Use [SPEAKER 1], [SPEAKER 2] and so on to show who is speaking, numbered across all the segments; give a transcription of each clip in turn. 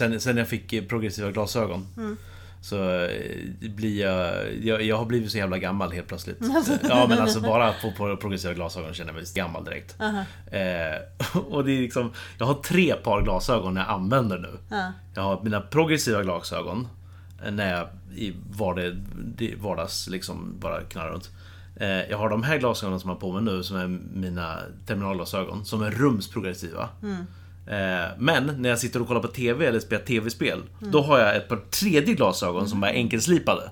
[SPEAKER 1] Sen, sen jag fick eh, progressiva glasögon så eh, blir jag, jag... Jag har blivit så jävla gammal helt plötsligt. ja, men alltså bara på, på progressiva glasögon känner jag mig gammal direkt. Eh, och det är liksom... Jag har tre par glasögon jag använder nu.
[SPEAKER 2] Ja.
[SPEAKER 1] Jag har mina progressiva glasögon. eh, När jag i vardag, det- vardags liksom bara knarrar runt. Eh, Jag har de här glasögonen som jag har på mig nu som är mina terminalglasögon. Som är rumsprogressiva. Eh, Men när jag sitter och kollar på TV eller spelar TV-spel. Då har jag ett par tredje glasögon som är enkelslipade.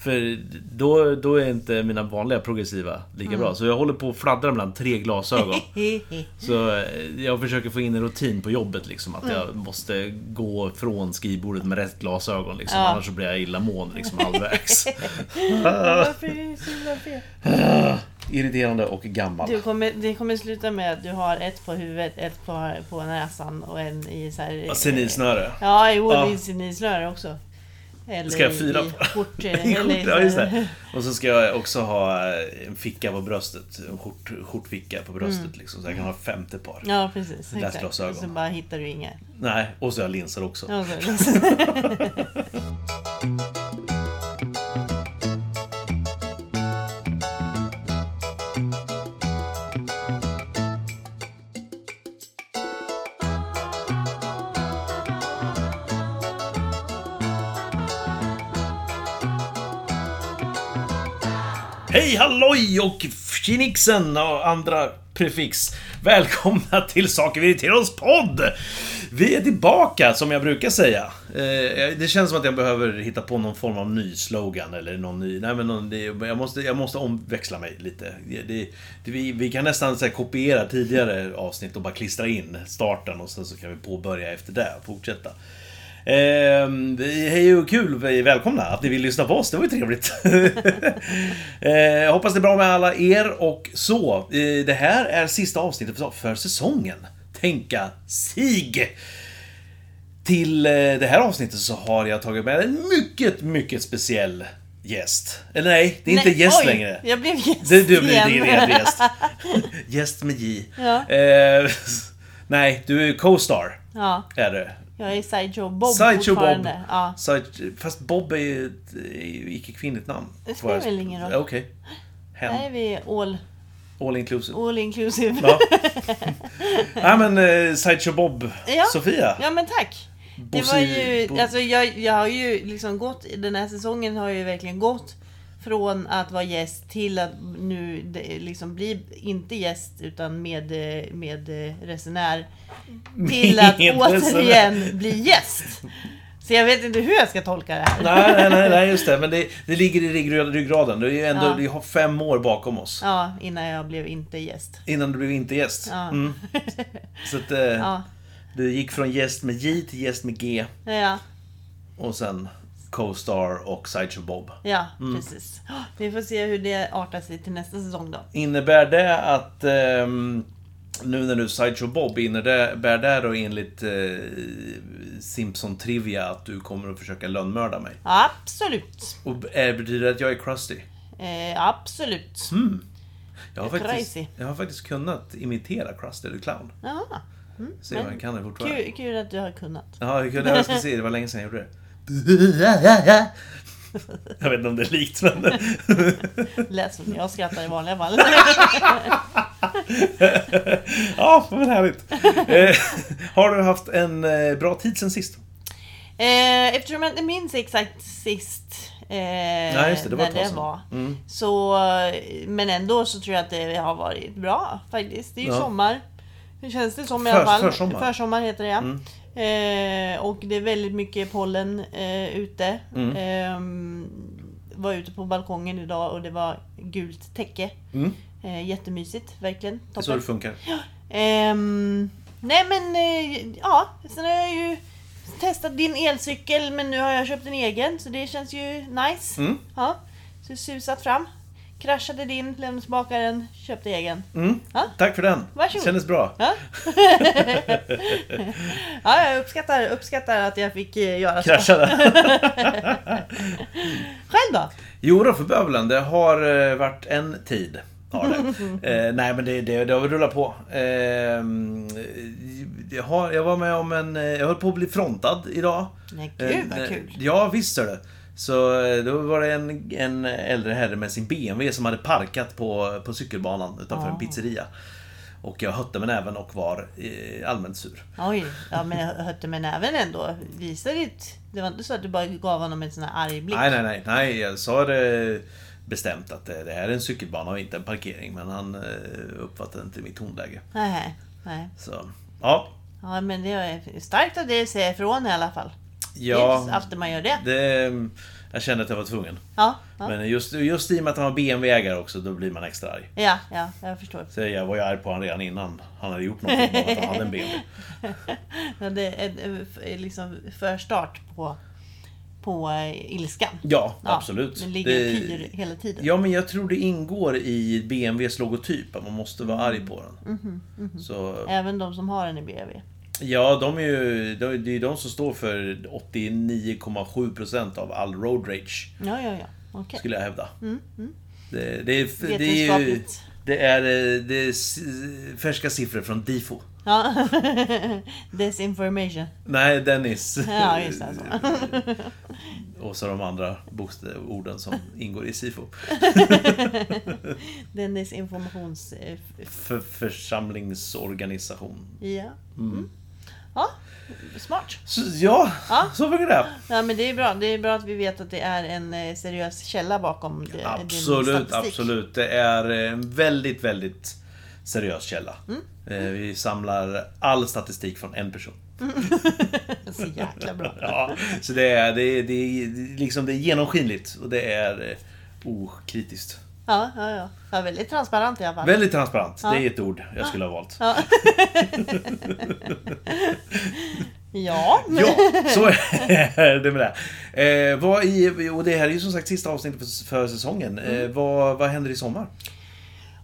[SPEAKER 1] För då, då är inte mina vanliga progressiva lika bra. Så jag håller på att fladdra mellan tre glasögon. Så eh, jag försöker få in en rutin på jobbet liksom. Att
[SPEAKER 2] Mm.
[SPEAKER 1] jag måste gå från skrivbordet med rätt glasögon liksom.
[SPEAKER 2] Ja.
[SPEAKER 1] Annars så blir jag illamående liksom halvvägs. Ah.
[SPEAKER 2] Varför är det så himla fel?
[SPEAKER 1] Irriterande och gammal.
[SPEAKER 2] Du kommer, det kommer sluta med att du har ett på huvudet, ett på, på näsan och en i så här...
[SPEAKER 1] Och Senilsnöre.
[SPEAKER 2] Ja, jo,
[SPEAKER 1] Ja.
[SPEAKER 2] det finns senilsnöre också. Eller
[SPEAKER 1] Ah. Ska jag fira
[SPEAKER 2] i
[SPEAKER 1] på?
[SPEAKER 2] skjort,
[SPEAKER 1] En
[SPEAKER 2] eller i
[SPEAKER 1] skjorta,
[SPEAKER 2] så
[SPEAKER 1] ja,
[SPEAKER 2] här-
[SPEAKER 1] just det. Och så ska jag också ha eh, en ficka på bröstet. En skjort, skjortficka på bröstet
[SPEAKER 2] Mm.
[SPEAKER 1] liksom. Så jag kan ha 50 par.
[SPEAKER 2] Ja, precis. exakt.
[SPEAKER 1] Läsglasögon.
[SPEAKER 2] Så bara hittar du inga.
[SPEAKER 1] Nej, och så har jag linser också.
[SPEAKER 2] Ja, så-
[SPEAKER 1] Hej halloj och tjenixen och andra prefix. Välkomna till Saker vi irriterar oss podd! Vi är tillbaka, som jag brukar säga. Eh, Det känns som att jag behöver hitta på någon form av ny slogan eller någon ny... Nej men någon, det- jag, måste, jag måste omväxla mig lite. Det, det, det, vi, vi kan nästan så här, kopiera tidigare avsnitt och bara klistra in starten och sen så kan vi påbörja efter det och fortsätta. Ehm, hej och kul, välkomna att ni vill lyssna på oss, det var ju trevligt. Eh, jag hoppas det är bra med alla er och så. Eh, det här är sista avsnittet för, för säsongen. Tänka sig! Till eh, det här avsnittet så har jag tagit med en mycket, mycket speciell gäst. Eller nej, det är
[SPEAKER 2] Nej,
[SPEAKER 1] inte gäst
[SPEAKER 2] oj,
[SPEAKER 1] längre.
[SPEAKER 2] Jag blev gäst
[SPEAKER 1] Du, du blir
[SPEAKER 2] igen.
[SPEAKER 1] din egen gäst. Gäst med J.
[SPEAKER 2] Ja.
[SPEAKER 1] Eh, nej, du är co-star.
[SPEAKER 2] Ja,
[SPEAKER 1] Är du.
[SPEAKER 2] jag är Sideshow Bob
[SPEAKER 1] Sideshow Bob.
[SPEAKER 2] fortfarande. Ja.
[SPEAKER 1] Side, fast Bob är ju ett är ju icke-kvinnligt namn.
[SPEAKER 2] Det spelar väl ingen roll.
[SPEAKER 1] Ja, Okej.
[SPEAKER 2] Där är
[SPEAKER 1] Hen.
[SPEAKER 2] vi all,
[SPEAKER 1] All inclusive.
[SPEAKER 2] all inclusive.
[SPEAKER 1] Ja. Nej men eh, Sideshow Bob,
[SPEAKER 2] Ja.
[SPEAKER 1] Sofia.
[SPEAKER 2] Ja men tack! Det
[SPEAKER 1] Bosse-
[SPEAKER 2] var ju,
[SPEAKER 1] Bo-
[SPEAKER 2] alltså jag, jag har ju liksom gått, den här säsongen har ju verkligen gått från att vara gäst till att nu det liksom bli, inte gäst utan med, eh, med eh, resenär. Till att
[SPEAKER 1] Med resenär.
[SPEAKER 2] återigen bli gäst. Så jag vet inte hur jag ska tolka det här.
[SPEAKER 1] Nej, nej, nej, nej, just det. Men det, det ligger i rygg- ryggraden. Du är ju ändå,
[SPEAKER 2] Ja.
[SPEAKER 1] vi har fem år bakom oss.
[SPEAKER 2] Ja, innan jag blev inte gäst.
[SPEAKER 1] Innan du blev inte gäst.
[SPEAKER 2] Ja.
[SPEAKER 1] Mm. Så att eh,
[SPEAKER 2] Ja,
[SPEAKER 1] du gick från gäst med J till gäst med G.
[SPEAKER 2] ja,
[SPEAKER 1] Och sen Co-star och Sideshow Bob.
[SPEAKER 2] ja
[SPEAKER 1] Mm.
[SPEAKER 2] precis. Vi får se hur det artar sig till nästa säsong då.
[SPEAKER 1] Innebär det att ehm, nu när du är Sideshow Bob, innebär det då enligt eh, Simpson Trivia att du kommer att försöka lönnmörda mig?
[SPEAKER 2] Absolut.
[SPEAKER 1] Och eh, betyder det att jag är crusty?
[SPEAKER 2] Eh, absolut.
[SPEAKER 1] Mm. Jag har,
[SPEAKER 2] Jag är
[SPEAKER 1] faktiskt,
[SPEAKER 2] crazy.
[SPEAKER 1] jag har faktiskt kunnat imitera Krusty the Clown.
[SPEAKER 2] Jaha.
[SPEAKER 1] Se om
[SPEAKER 2] Men
[SPEAKER 1] jag kan det fortfarande.
[SPEAKER 2] Kul, kul att du har kunnat.
[SPEAKER 1] Ja, jag kunde, jag ska se, det var länge sedan jag gjorde det. Jag vet inte om det är likt men...
[SPEAKER 2] Lät som jag skrattar i vanliga fall.
[SPEAKER 1] ja, men härligt. Eh, har du haft en eh, bra tid sen sist?
[SPEAKER 2] Eh, Eftersom jag inte minns exakt sist eh,
[SPEAKER 1] Nej, just det, det var
[SPEAKER 2] när
[SPEAKER 1] ett tag
[SPEAKER 2] det
[SPEAKER 1] sedan.
[SPEAKER 2] var.
[SPEAKER 1] Mm.
[SPEAKER 2] Så, men ändå så tror jag att det har varit bra faktiskt. Det är ju
[SPEAKER 1] Ja.
[SPEAKER 2] sommar. Det känns det som i
[SPEAKER 1] För-
[SPEAKER 2] alla fall.
[SPEAKER 1] försommar. Mm.
[SPEAKER 2] Försommar heter det ja. Eh, och det är väldigt mycket pollen eh, ute.
[SPEAKER 1] Mm.
[SPEAKER 2] Eh, var ute på balkongen idag och det var gult täcke.
[SPEAKER 1] Mm.
[SPEAKER 2] Eh, jättemysigt, verkligen.
[SPEAKER 1] Det är
[SPEAKER 2] Toppen.
[SPEAKER 1] så det funkar.
[SPEAKER 2] Ehm, nej men eh, ja, sen har jag ju testat din elcykel men nu har jag köpt en egen så det känns ju nice.
[SPEAKER 1] Mm.
[SPEAKER 2] Ja, så susat fram. Kraschade din, lämnade tillbaka den, köpte egen.
[SPEAKER 1] Mm.
[SPEAKER 2] Ja.
[SPEAKER 1] Tack för den.
[SPEAKER 2] Varsågod.
[SPEAKER 1] Kändes bra.
[SPEAKER 2] Ja. ja, jag uppskattar, uppskattar att jag fick eh, göra så.
[SPEAKER 1] Kraschade.
[SPEAKER 2] Själv då?
[SPEAKER 1] Jo då för bövelen, det har eh, varit en tid. har det. Eh, nej men det, det, det har väl rullat på. Eh, jag, har, jag var med om en... eh, Jag höll på att bli frontad idag.
[SPEAKER 2] Nej, gud vad
[SPEAKER 1] Eh,
[SPEAKER 2] kul.
[SPEAKER 1] Ja, visst är det. Så eh, då var det en, en äldre herre med sin BMW som hade parkat på, på cykelbanan utanför en
[SPEAKER 2] Ah.
[SPEAKER 1] pizzeria. Och jag hötte med näven och var eh, allmänt sur.
[SPEAKER 2] Oj, ja men jag hötte med näven ändå. Visa ditt... Det var inte så att du bara gav honom en sån här arg blick.
[SPEAKER 1] Nej, nej, nej, nej. Jag sa det bestämt att eh, det här är en cykelbana och inte en parkering. Men han eh, uppfattade inte mitt tonläge.
[SPEAKER 2] Nej, nej.
[SPEAKER 1] Så, ja.
[SPEAKER 2] Ja men det är starkt att det säger ifrån i alla fall. Det är inte så
[SPEAKER 1] Ja,
[SPEAKER 2] ofta man gör det.
[SPEAKER 1] det, jag kände att jag var tvungen.
[SPEAKER 2] Ja, ja.
[SPEAKER 1] Men just, just i och med att han var BMW-ägare också, då blir man extra arg.
[SPEAKER 2] ja, ja jag förstår.
[SPEAKER 1] Så jag var ju arg på honom redan innan han hade gjort någonting om att han hade en BMW.
[SPEAKER 2] Ja, det är en, eh, liksom förstart på, på eh, ilskan.
[SPEAKER 1] Ja, absolut.
[SPEAKER 2] Den ligger
[SPEAKER 1] Det-
[SPEAKER 2] det... pyr hela tiden.
[SPEAKER 1] Ja, men jag tror det ingår i BMWs logotyp att man måste vara arg på den.
[SPEAKER 2] Mhm,
[SPEAKER 1] Så,
[SPEAKER 2] Även de som har en i BV.
[SPEAKER 1] ja, de är ju de, det är ju de som står för 89,7% av all road rage,
[SPEAKER 2] Ja, ja, ja. Okej. Mm,
[SPEAKER 1] skulle jag hävda. Det, det, är, det är ju
[SPEAKER 2] Vetenskapligt.
[SPEAKER 1] det är, eh, det är s- färska siffror från DIFO.
[SPEAKER 2] Ja. Desinformation.
[SPEAKER 1] Nej, Dennis.
[SPEAKER 2] Ja, just det. Alltså.
[SPEAKER 1] Och så de andra bokst- orden som ingår i SIFO.
[SPEAKER 2] Den desinformations... eh, f-
[SPEAKER 1] För, församlingsorganisation.
[SPEAKER 2] Ja. Mm. Ja, smart.
[SPEAKER 1] Så, ja,
[SPEAKER 2] Ja.
[SPEAKER 1] så funkar det.
[SPEAKER 2] Ja, men det är bra. Det är bra att vi vet att det är en eh, seriös källa bakom det, din
[SPEAKER 1] Absolut,
[SPEAKER 2] statistik.
[SPEAKER 1] absolut. Det är eh, en väldigt, väldigt seriös källa.
[SPEAKER 2] Mm.
[SPEAKER 1] Eh, Vi samlar all statistik från en person.
[SPEAKER 2] Så jäkla bra.
[SPEAKER 1] Ja, så det är, det är, det är, det är liksom, det är genomskinligt och det är eh, okritiskt.
[SPEAKER 2] Ja, ja, ja. ja väldigt transparent i alla fall.
[SPEAKER 1] Väldigt transparent. Det är ett ord jag skulle ha valt.
[SPEAKER 2] Ja. ja.
[SPEAKER 1] Ja, så är det med det. Eh, vad i, och det här är ju som sagt sista avsnittet för, för säsongen. Eh,
[SPEAKER 2] Mm.
[SPEAKER 1] vad, vad händer i sommar?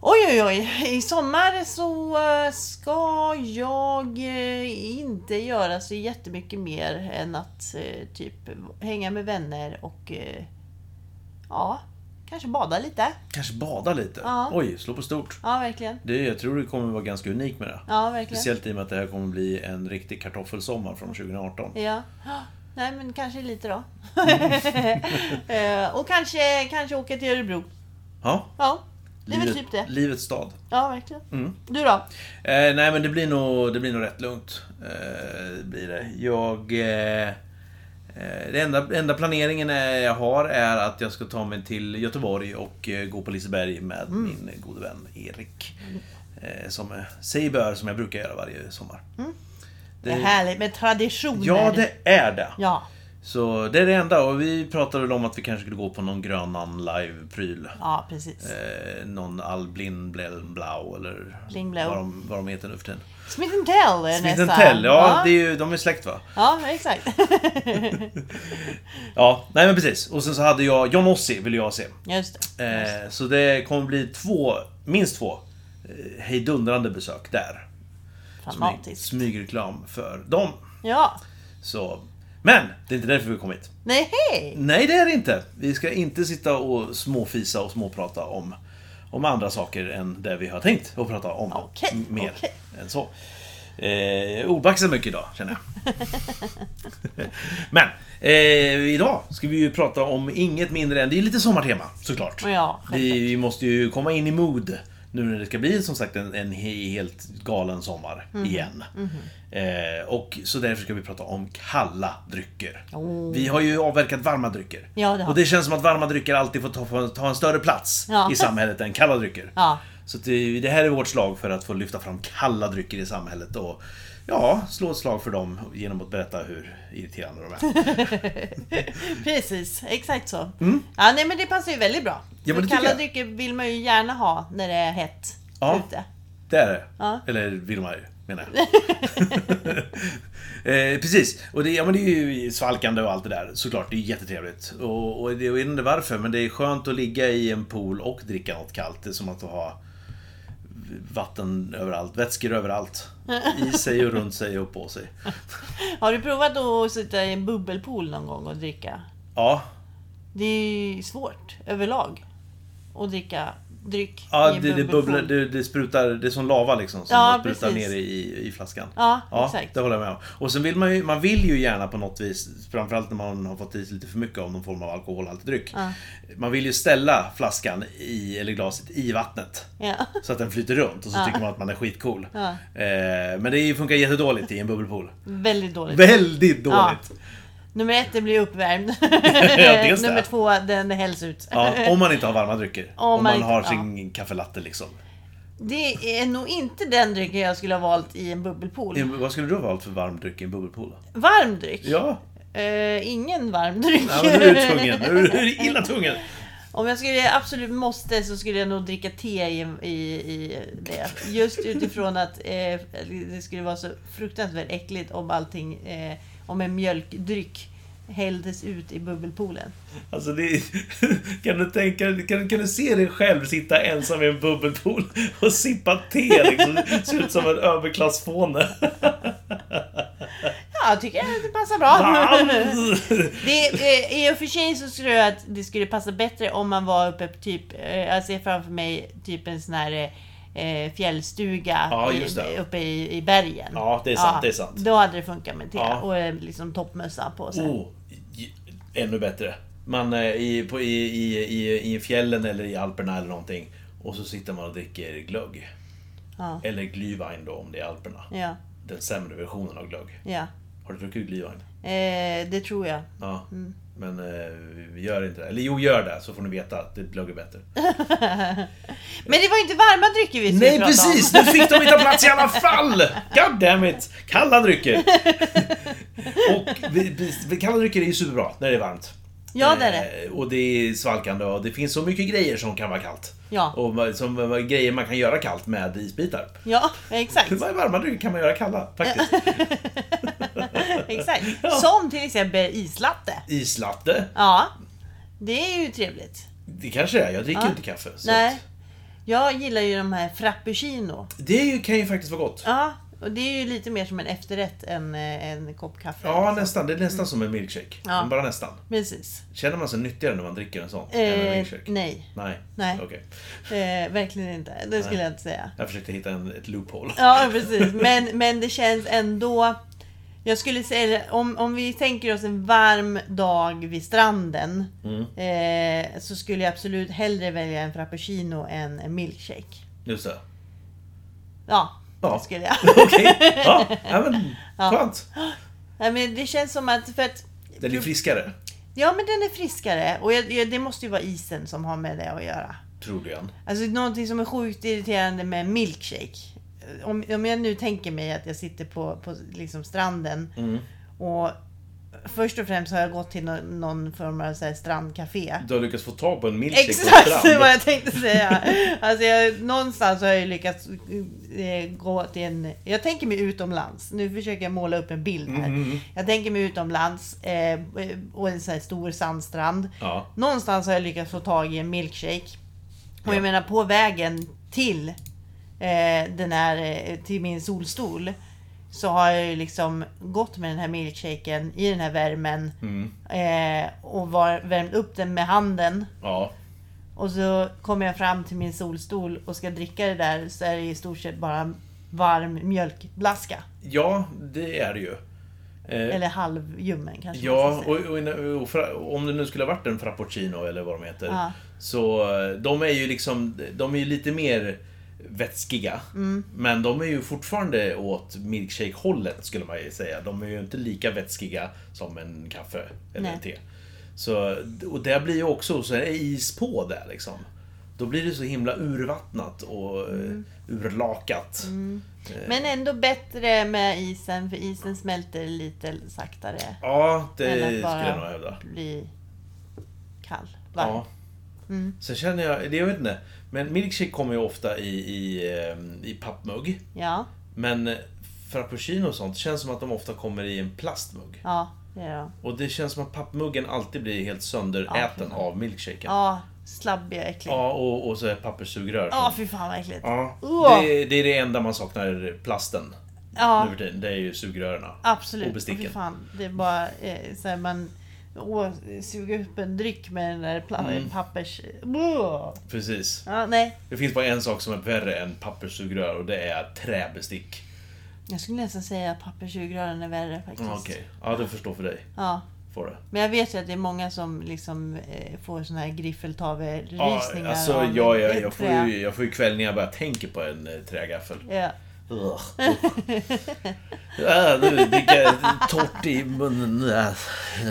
[SPEAKER 2] Oj, oj, oj. I sommar så eh, ska jag eh, inte göra så jättemycket mer än att eh, typ hänga med vänner och eh, ja, kanske bada lite.
[SPEAKER 1] Kanske bada lite?
[SPEAKER 2] Ja.
[SPEAKER 1] Oj, slå på stort.
[SPEAKER 2] Ja, verkligen.
[SPEAKER 1] Det, jag tror du kommer vara ganska unik med det.
[SPEAKER 2] Ja, verkligen. Mm.
[SPEAKER 1] Speciellt i och med att det här kommer bli en riktig kartoffelsommar från 2018.
[SPEAKER 2] Ja. Nej, men kanske lite då.
[SPEAKER 1] Mm.
[SPEAKER 2] Eh, och kanske, kanske åka till Örebro.
[SPEAKER 1] Ja,
[SPEAKER 2] Ja, det är väl typ det.
[SPEAKER 1] Livets stad.
[SPEAKER 2] Ja, verkligen.
[SPEAKER 1] Mm.
[SPEAKER 2] Du då?
[SPEAKER 1] Eh, nej men det blir nog, det blir nog rätt lugnt. Eh, blir det. Jag... Eh, eh, det enda, enda planeringen eh, jag har är att jag ska ta mig till Göteborg och eh, gå på Liseberg med
[SPEAKER 2] Mm.
[SPEAKER 1] min gode vän Erik. Eh, som eh, sig bör, som jag brukar göra varje sommar.
[SPEAKER 2] Mm. Det är härligt med traditioner.
[SPEAKER 1] Ja, det är det.
[SPEAKER 2] Ja,
[SPEAKER 1] Så det är det enda. Och vi pratade väl om att vi kanske skulle gå på någon Grönan live-pryl.
[SPEAKER 2] ja precis.
[SPEAKER 1] Eh, någon Alblin Blel Blau eller
[SPEAKER 2] Bling Blau.
[SPEAKER 1] Vad, de, vad de heter nu för tiden.
[SPEAKER 2] Smith Tell är
[SPEAKER 1] Smith
[SPEAKER 2] nästa.
[SPEAKER 1] Tell, ja,
[SPEAKER 2] ja,
[SPEAKER 1] Det är ju, de är släkt va?
[SPEAKER 2] ja, exakt.
[SPEAKER 1] Ja, nej men precis. Och sen så hade jag John Ossie ville jag se.
[SPEAKER 2] Just det.
[SPEAKER 1] Eh, så det kommer bli två, minst två, eh, hejdundrande besök där. Smyg,
[SPEAKER 2] Fantastiskt.
[SPEAKER 1] smygreklam för dem.
[SPEAKER 2] Ja.
[SPEAKER 1] Så. Men, det är inte därför vi kom hit.
[SPEAKER 2] Nej, hej!
[SPEAKER 1] Nej, det är det inte. Vi ska inte sitta och småfisa och småprata om, om andra saker än det vi har tänkt att prata om.
[SPEAKER 2] Okej,
[SPEAKER 1] M- Mer
[SPEAKER 2] okej.
[SPEAKER 1] än så. Eh, Obaxad mycket idag, känner jag. Men, eh, idag ska vi ju prata om inget mindre än... Det är ju lite sommartema, såklart.
[SPEAKER 2] Ja,
[SPEAKER 1] vi, vi måste ju komma in i mood nu när det ska bli som sagt en, en he- helt galen sommar
[SPEAKER 2] Mhm.
[SPEAKER 1] igen. Eh, och så därför ska vi prata om kalla drycker.
[SPEAKER 2] Oh.
[SPEAKER 1] Vi har ju avverkat varma drycker.
[SPEAKER 2] Ja, det har
[SPEAKER 1] och det känns som att varma drycker alltid får ta, ta en större plats
[SPEAKER 2] Ja.
[SPEAKER 1] i samhället än kalla drycker.
[SPEAKER 2] Ja.
[SPEAKER 1] Så att det, det här är vårt slag för att få lyfta fram kalla drycker i samhället och ja, slå ett slag för dem genom att berätta hur irriterande de är.
[SPEAKER 2] Precis, exakt så. Ja, nej men det passar ju väldigt bra.
[SPEAKER 1] Mm. Ja, men
[SPEAKER 2] För
[SPEAKER 1] det tycker
[SPEAKER 2] kalla
[SPEAKER 1] jag.
[SPEAKER 2] drycker vill man ju gärna ha när det är hett
[SPEAKER 1] Ja.
[SPEAKER 2] ute.
[SPEAKER 1] Det är det.
[SPEAKER 2] Ja.
[SPEAKER 1] Eller vill man ju, menar jag. eh, precis. Och det, ja, men det är ju svalkande och allt det där, såklart. Det är jättetrevligt. Och, och det, jag vet inte varför, men det är skönt att ligga i en pool och dricka något kallt. Det är som att ha vatten överallt, vätskor överallt. I sig och runt sig och på sig.
[SPEAKER 2] Har du provat att sitta i en bubbelpool någon gång och dricka?
[SPEAKER 1] Ja,
[SPEAKER 2] Det är ju svårt överlag att dricka dryck
[SPEAKER 1] Ja,
[SPEAKER 2] i en
[SPEAKER 1] det, det,
[SPEAKER 2] bubbelform.
[SPEAKER 1] bubblar, det, det sprutar, det är som lava liksom som
[SPEAKER 2] Ja,
[SPEAKER 1] sprutar
[SPEAKER 2] precis.
[SPEAKER 1] ner i, i flaskan.
[SPEAKER 2] Ja,
[SPEAKER 1] Ja,
[SPEAKER 2] exakt.
[SPEAKER 1] det håller jag med om. Och sen vill man ju, man vill ju gärna på något vis, framförallt när man har fått i sig lite för mycket av någon form av alkoholhaltig dryck.
[SPEAKER 2] Ja.
[SPEAKER 1] Man vill ju ställa flaskan, i, eller glaset, i vattnet.
[SPEAKER 2] Ja.
[SPEAKER 1] Så att den flyter runt och så
[SPEAKER 2] Ja.
[SPEAKER 1] tycker man att man är skitcool.
[SPEAKER 2] Ja.
[SPEAKER 1] Eh, men det funkar jättedåligt i en bubbelpool.
[SPEAKER 2] Väldigt dåligt.
[SPEAKER 1] Väldigt dåligt!
[SPEAKER 2] Nummer ett, det blir uppvärmd.
[SPEAKER 1] det.
[SPEAKER 2] Nummer två, den hälls ut.
[SPEAKER 1] Ja. om man inte har varma drycker. Om,
[SPEAKER 2] Om man
[SPEAKER 1] man,
[SPEAKER 2] inte-
[SPEAKER 1] har
[SPEAKER 2] ja.
[SPEAKER 1] sin kaffelatte liksom.
[SPEAKER 2] Det är nog inte den drycken jag skulle ha valt i en bubbelpool.
[SPEAKER 1] I en- Vad skulle du ha valt för varm dryck i en bubbelpool? då?
[SPEAKER 2] Varm dryck?
[SPEAKER 1] Ja,
[SPEAKER 2] Eh, ingen varm dryck.
[SPEAKER 1] ja men nu är du tvungen. Nu är du illa tvungen.
[SPEAKER 2] Om jag skulle absolut måste så skulle jag nog dricka te i, i, i det. Just utifrån att eh, det skulle vara så fruktansvärt äckligt om allting, eh, om en mjölkdryck hälldes ut i bubbelpoolen.
[SPEAKER 1] Alltså det är, kan, du tänka, kan, kan du se dig själv sitta ensam i en bubbelpool och sippa te liksom? Det Ser ut som en överklassfåne.
[SPEAKER 2] Ja, jag tycker att det passar bra.
[SPEAKER 1] Varm!
[SPEAKER 2] Det, eh, I och för sig så tror jag att det skulle passa bättre om man var uppe på typ, eh, jag ser framför mig typ en sån här eh, fjällstuga
[SPEAKER 1] Ja,
[SPEAKER 2] i,
[SPEAKER 1] just det.
[SPEAKER 2] uppe i, i bergen.
[SPEAKER 1] Ja, det är sant, det är sant.
[SPEAKER 2] Då hade det funkat med te
[SPEAKER 1] Ja.
[SPEAKER 2] och eh, liksom toppmössa på sig.
[SPEAKER 1] Oh, j- ännu bättre. Man eh, i, på, i, i, i, i fjällen eller i Alperna eller någonting. Och så sitter man och dricker glögg.
[SPEAKER 2] Ja.
[SPEAKER 1] Eller glühwein då om det är Alperna.
[SPEAKER 2] Ja,
[SPEAKER 1] Den sämre versionen av glögg.
[SPEAKER 2] ja.
[SPEAKER 1] Har du druckit glühwein?
[SPEAKER 2] Eh, det tror jag.
[SPEAKER 1] Ja.
[SPEAKER 2] Mm.
[SPEAKER 1] Men eh, gör inte det. Eller jo, gör det så får ni veta att det glögg är bättre.
[SPEAKER 2] Men det var ju inte varma drycker vi skulle
[SPEAKER 1] Nej
[SPEAKER 2] prata
[SPEAKER 1] precis!
[SPEAKER 2] om.
[SPEAKER 1] Nu fick de inte plats i alla fall! God damn it! Kalla drycker! och vi, vi, vi, kalla drycker är ju superbra när det är varmt.
[SPEAKER 2] Ja, det är det.
[SPEAKER 1] Eh, Och det är svalkande och det finns så mycket grejer som kan vara kallt.
[SPEAKER 2] Ja.
[SPEAKER 1] Och ma- som, eh, grejer man kan göra kallt med isbitar.
[SPEAKER 2] Ja, exakt.
[SPEAKER 1] Hur varma drycker kan man göra kalla faktiskt?
[SPEAKER 2] exakt.
[SPEAKER 1] Ja.
[SPEAKER 2] Som till exempel islatte.
[SPEAKER 1] Islatte?
[SPEAKER 2] Ja, det är ju trevligt.
[SPEAKER 1] Det kanske är. Jag dricker ju
[SPEAKER 2] Ja.
[SPEAKER 1] inte kaffe. Så
[SPEAKER 2] Nej. Jag gillar ju de här frappuccino.
[SPEAKER 1] att- Det är ju- kan ju faktiskt vara gott.
[SPEAKER 2] Ja, och det är ju lite mer som en efterrätt än eh, en kopp kaffe.
[SPEAKER 1] Ja, nästan. Det är nästan som en milkshake.
[SPEAKER 2] Mm. Ja.
[SPEAKER 1] Men bara nästan.
[SPEAKER 2] Precis.
[SPEAKER 1] Känner man sig nyttigare när man dricker en sån? än en
[SPEAKER 2] Eh,
[SPEAKER 1] milkshake?
[SPEAKER 2] nej,
[SPEAKER 1] Nej.
[SPEAKER 2] Nej.
[SPEAKER 1] Okej.
[SPEAKER 2] eh, verkligen inte. Det skulle jag inte säga.
[SPEAKER 1] Jag försökte hitta en, ett loophole.
[SPEAKER 2] Ja, precis. Men, men det känns ändå... Jag skulle säga om, om vi tänker oss en varm dag vid stranden
[SPEAKER 1] Mm.
[SPEAKER 2] eh, så skulle jag absolut hellre välja en frappuccino än en milkshake.
[SPEAKER 1] Just det.
[SPEAKER 2] Ja,
[SPEAKER 1] Ja.
[SPEAKER 2] det skulle jag.
[SPEAKER 1] Okej. Ja, ja, men
[SPEAKER 2] Ja.
[SPEAKER 1] skönt.
[SPEAKER 2] Nej, men det känns som att... För att
[SPEAKER 1] Den är friskare,
[SPEAKER 2] Ja, men den är friskare. Och jag, jag, det måste ju vara isen som har med det att göra.
[SPEAKER 1] tror du igen.
[SPEAKER 2] Alltså någonting som är sjukt irriterande med en milkshake. Om, om jag nu tänker mig att jag sitter på, på liksom stranden
[SPEAKER 1] Mm.
[SPEAKER 2] och först och främst har jag gått till någon, någon form av så här strandcafé.
[SPEAKER 1] Du har lyckats få tag på en milkshake på
[SPEAKER 2] Exakt
[SPEAKER 1] strand.
[SPEAKER 2] vad jag tänkte säga! Alltså jag, någonstans har jag ju lyckats eh, gå till en... Jag tänker mig utomlands. Nu försöker jag måla upp en bild här. Jag tänker mig utomlands eh, och en sån här stor sandstrand.
[SPEAKER 1] Ja.
[SPEAKER 2] Någonstans har jag lyckats få tag i en milkshake. Och
[SPEAKER 1] Ja.
[SPEAKER 2] jag menar på vägen till eh, den här, eh, till min solstol. Så har jag ju liksom gått med den här milkshaken i den här värmen.
[SPEAKER 1] Mm.
[SPEAKER 2] Eh, och var, värmt upp den med handen.
[SPEAKER 1] Ja.
[SPEAKER 2] Och så kommer jag fram till min solstol och ska dricka det där så är det i stort sett bara varm mjölkblaska.
[SPEAKER 1] ja, det är det ju. Eh,
[SPEAKER 2] Eller halvljummen kanske man
[SPEAKER 1] ja,
[SPEAKER 2] ska säga.
[SPEAKER 1] och, och, och, fra- om det nu skulle ha varit en frappuccino eller vad de heter.
[SPEAKER 2] Ja.
[SPEAKER 1] Så eh, de är ju liksom, de är ju lite mer vätskiga.
[SPEAKER 2] Mm.
[SPEAKER 1] Men de är ju fortfarande åt milkshake-hållet skulle man ju säga. De är ju inte lika vätskiga som en kaffe eller
[SPEAKER 2] Nej.
[SPEAKER 1] en te. Så, och det blir ju också, så är det is på där liksom. Då blir det så himla urvattnat och mm. urlakat.
[SPEAKER 2] Mm. Men ändå bättre med isen för isen smälter lite saktare.
[SPEAKER 1] Ja, det
[SPEAKER 2] Än att
[SPEAKER 1] skulle
[SPEAKER 2] bara
[SPEAKER 1] jag nog hävda.
[SPEAKER 2] bli kall. Varm.
[SPEAKER 1] Ja. Sen känner jag, det jag vet inte. Men milkshake kommer ju ofta i, i, eh, i pappmugg.
[SPEAKER 2] Ja,
[SPEAKER 1] Men eh, frappuccino och sånt känns som att de ofta kommer i en plastmugg.
[SPEAKER 2] ja, det är de.
[SPEAKER 1] Och det känns som att pappmuggen alltid blir helt sönderäten av milkshaken. Ja,
[SPEAKER 2] Ja, slabbiga äckliga. Ja,
[SPEAKER 1] och, och så är papperssugrör. som-
[SPEAKER 2] fy fan vad äckligt. Ja,
[SPEAKER 1] Ja,
[SPEAKER 2] Åh.
[SPEAKER 1] det, det är det enda man saknar plasten nu för tiden. Det är ju sugrören.
[SPEAKER 2] absolut.
[SPEAKER 1] och
[SPEAKER 2] Och
[SPEAKER 1] besticken.
[SPEAKER 2] fy fan, det är bara eh, så här, man Åh, suga upp en dryck med den där pla-
[SPEAKER 1] Mm.
[SPEAKER 2] pappers... Buh!
[SPEAKER 1] Precis.
[SPEAKER 2] Ja, nej.
[SPEAKER 1] Det finns bara en sak som är värre än papperssugrör och det är träbestick.
[SPEAKER 2] Jag skulle nästan säga att papperssugrören är värre faktiskt.
[SPEAKER 1] Ja, Okej, ja det förstår för dig.
[SPEAKER 2] Ja.
[SPEAKER 1] Får det.
[SPEAKER 2] Men jag vet ju att det är många som liksom eh, får såna här
[SPEAKER 1] Ja,
[SPEAKER 2] griffeltavelrysningar
[SPEAKER 1] alltså
[SPEAKER 2] av
[SPEAKER 1] jag,
[SPEAKER 2] ett
[SPEAKER 1] jag, jag, får
[SPEAKER 2] trä.
[SPEAKER 1] ju, jag får ju kväll när jag bara tänker på en eh, trägaffel.
[SPEAKER 2] Ja.
[SPEAKER 1] Ugh. Ja, nu fick jag torrt i munnen. Ja.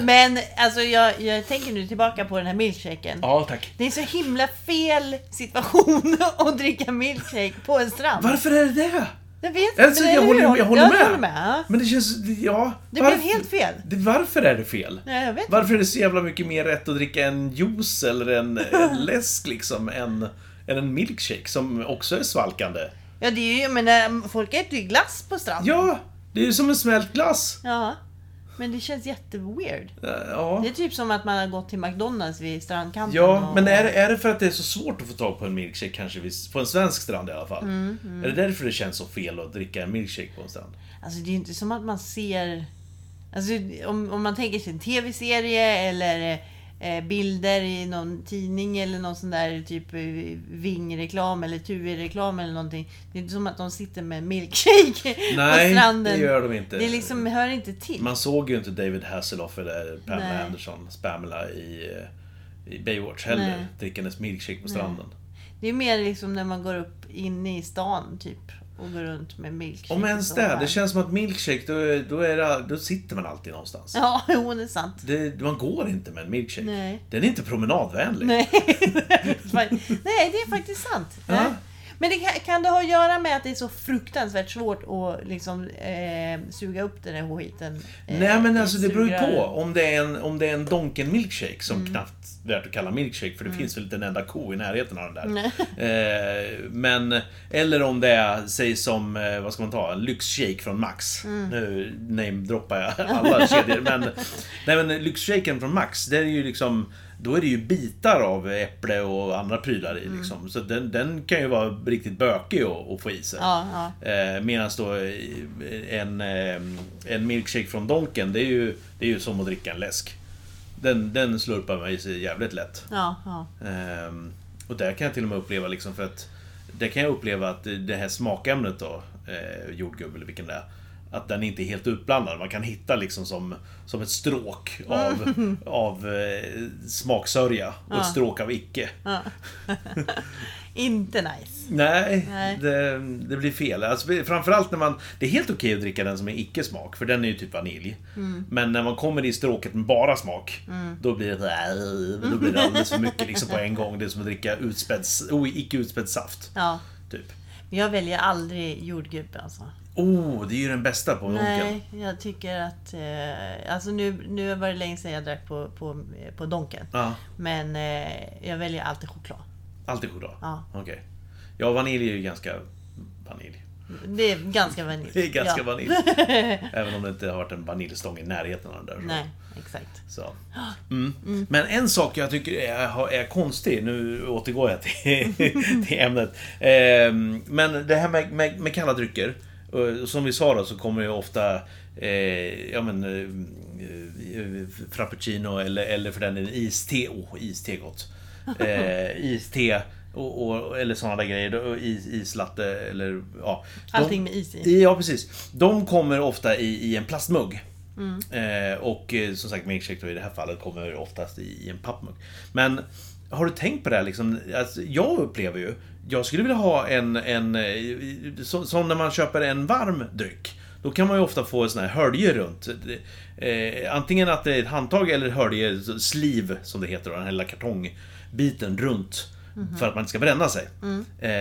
[SPEAKER 2] Men alltså jag, jag tänker nu tillbaka på den här milkshaken.
[SPEAKER 1] Ja, tack.
[SPEAKER 2] Det är så himla fel situation att dricka milkshake på en strand.
[SPEAKER 1] Varför är det det?
[SPEAKER 2] Jag vet
[SPEAKER 1] Alltså,
[SPEAKER 2] men
[SPEAKER 1] jag
[SPEAKER 2] eller
[SPEAKER 1] håller-
[SPEAKER 2] hur?
[SPEAKER 1] jag håller
[SPEAKER 2] Ja,
[SPEAKER 1] med.
[SPEAKER 2] du håller med. ja.
[SPEAKER 1] Men det känns... Ja.
[SPEAKER 2] Det
[SPEAKER 1] varför-
[SPEAKER 2] blev helt fel.
[SPEAKER 1] det, varför är det fel?
[SPEAKER 2] Nej, jag vet inte.
[SPEAKER 1] Varför är det så jävla mycket mer rätt att dricka en juice eller en, eh, en läsk liksom än, än en milkshake som också är svalkande?
[SPEAKER 2] Ja, det är ju, men eh, folk äter ju glass på stranden.
[SPEAKER 1] Ja, det är ju som en smält glass.
[SPEAKER 2] Ja. Men det känns jätteweird.
[SPEAKER 1] Eh, Ja,
[SPEAKER 2] Det är typ som att man har gått till McDonalds vid strandkanten.
[SPEAKER 1] ja
[SPEAKER 2] och-
[SPEAKER 1] men är, det- är det för att det är så svårt att få tag på en milkshake kanske? vis- På en svensk strand i alla fall.
[SPEAKER 2] Mm,
[SPEAKER 1] Är det därför det känns så fel att dricka en milkshake på en strand?
[SPEAKER 2] Alltså det är ju inte som att man ser... Alltså om, om man tänker sig en tv-serie eller eh, bilder i någon tidning eller någon sån där typ eh, Ving-reklam eller TUI-reklam eller någonting. Det är inte som att de sitter med en milkshake
[SPEAKER 1] Nej,
[SPEAKER 2] på stranden.
[SPEAKER 1] det gör de inte.
[SPEAKER 2] Det liksom hör inte till.
[SPEAKER 1] Man såg ju inte David Hasselhoff eller Pamela
[SPEAKER 2] Nej.
[SPEAKER 1] Anderson, Spamela i, eh, i Baywatch heller,
[SPEAKER 2] Nej.
[SPEAKER 1] drickandes milkshake på stranden.
[SPEAKER 2] Det är mer liksom när man går upp inne i stan typ och går runt med milkshake.
[SPEAKER 1] Om
[SPEAKER 2] och
[SPEAKER 1] ens
[SPEAKER 2] sånt
[SPEAKER 1] det,
[SPEAKER 2] där.
[SPEAKER 1] det känns som att milkshake, då, är- då, är det, då sitter man alltid någonstans.
[SPEAKER 2] Ja, jo det är sant.
[SPEAKER 1] Det, man går inte med en milkshake.
[SPEAKER 2] Nej.
[SPEAKER 1] Den är inte promenadvänlig.
[SPEAKER 2] Nej. Nej, det är faktiskt sant.
[SPEAKER 1] Ja.
[SPEAKER 2] Men det kan, kan det ha att göra med att det är så fruktansvärt svårt att liksom, eh, suga upp den här skiten? Eh,
[SPEAKER 1] Nej men
[SPEAKER 2] i
[SPEAKER 1] alltså det beror ju på.
[SPEAKER 2] sugrören?
[SPEAKER 1] Om det är en, om det är en donken milkshake som knappt värt att kalla milkshake för det finns väl inte en enda ko i närheten av den där. Eh, men, eller om det är, säg som, eh, vad ska man ta, en lyxshake från Max. Nu namedroppar jag alla kedjor men, nej men lyxshaken från Max, det är ju liksom då är det ju bitar av äpple och andra prylar i liksom. Så den, den kan ju vara riktigt bökig att, att få i sig.
[SPEAKER 2] Ja, ja.
[SPEAKER 1] Eh, Medan då eh, en, eh, en milkshake från Donken, det är ju, det är ju som att dricka en läsk. Den, den slurpar man i sig jävligt lätt.
[SPEAKER 2] Ja, ja.
[SPEAKER 1] Ehm, och där kan jag till och med uppleva liksom för att där kan jag uppleva att det här smakämnet då, eh, jordgubb eller vilken det är, att den inte är helt utblandad. Man kan hitta liksom som, som ett stråk av, av eh, smaksörja och ett stråk av icke.
[SPEAKER 2] Inte nice.
[SPEAKER 1] Nej,
[SPEAKER 2] Nej.
[SPEAKER 1] Det, det blir fel. Alltså, framförallt när man... Det är helt okej att dricka den som är icke-smak, för den är ju typ vanilj.
[SPEAKER 2] Mm.
[SPEAKER 1] Men när man kommer i stråket med bara smak, då blir det... äh, Då blir det alldeles för mycket liksom, på en gång. Det är som att dricka utspädd, oh, icke-utspädd saft.
[SPEAKER 2] Ja.
[SPEAKER 1] Typ.
[SPEAKER 2] Men jag väljer aldrig jordgubbe alltså.
[SPEAKER 1] Oh, det är ju den bästa på Donken.
[SPEAKER 2] Nej, jag tycker att... Eh, alltså nu, nu var det länge sedan jag drack på, på, på Donken.
[SPEAKER 1] Ja,
[SPEAKER 2] Men eh, jag väljer alltid choklad.
[SPEAKER 1] alltid choklad?
[SPEAKER 2] Ja.
[SPEAKER 1] Okej. Ja, vanilj är ju ganska vanilj.
[SPEAKER 2] Det är ganska vanilj.
[SPEAKER 1] Det är ganska
[SPEAKER 2] ja.
[SPEAKER 1] vanilj. Även om det inte har varit en vaniljstång i närheten av den där.
[SPEAKER 2] Nej, exakt.
[SPEAKER 1] Så. Mm. Men en sak jag tycker är, är konstig, nu återgår jag till, till ämnet. Ehm, Men det här med, med, med kalla drycker. Och Som vi sa då så kommer ju ofta eh, ja, men, eh, eh, frappuccino eller, eller för den delen iste. Åh, iste är gott. Eh, iste och, och, eller sådana där grejer. då, Is, islatte eller ja. De-
[SPEAKER 2] Allting med is i.
[SPEAKER 1] i- Ja, precis. De kommer ofta i, i en plastmugg. Eh, och eh, som sagt, milkshake då i det här fallet kommer oftast i, i en pappmugg. Men har du tänkt på det här liksom? Alltså, jag upplever ju, jag skulle vilja ha en, en eh, så, som när man köper en varm dryck. Då kan man ju ofta få såna här höljer runt. Eh, antingen att det är ett handtag eller hölje, så- sleeve som det heter, då, den här lilla kartongbiten runt. För att man inte ska bränna sig. Eh,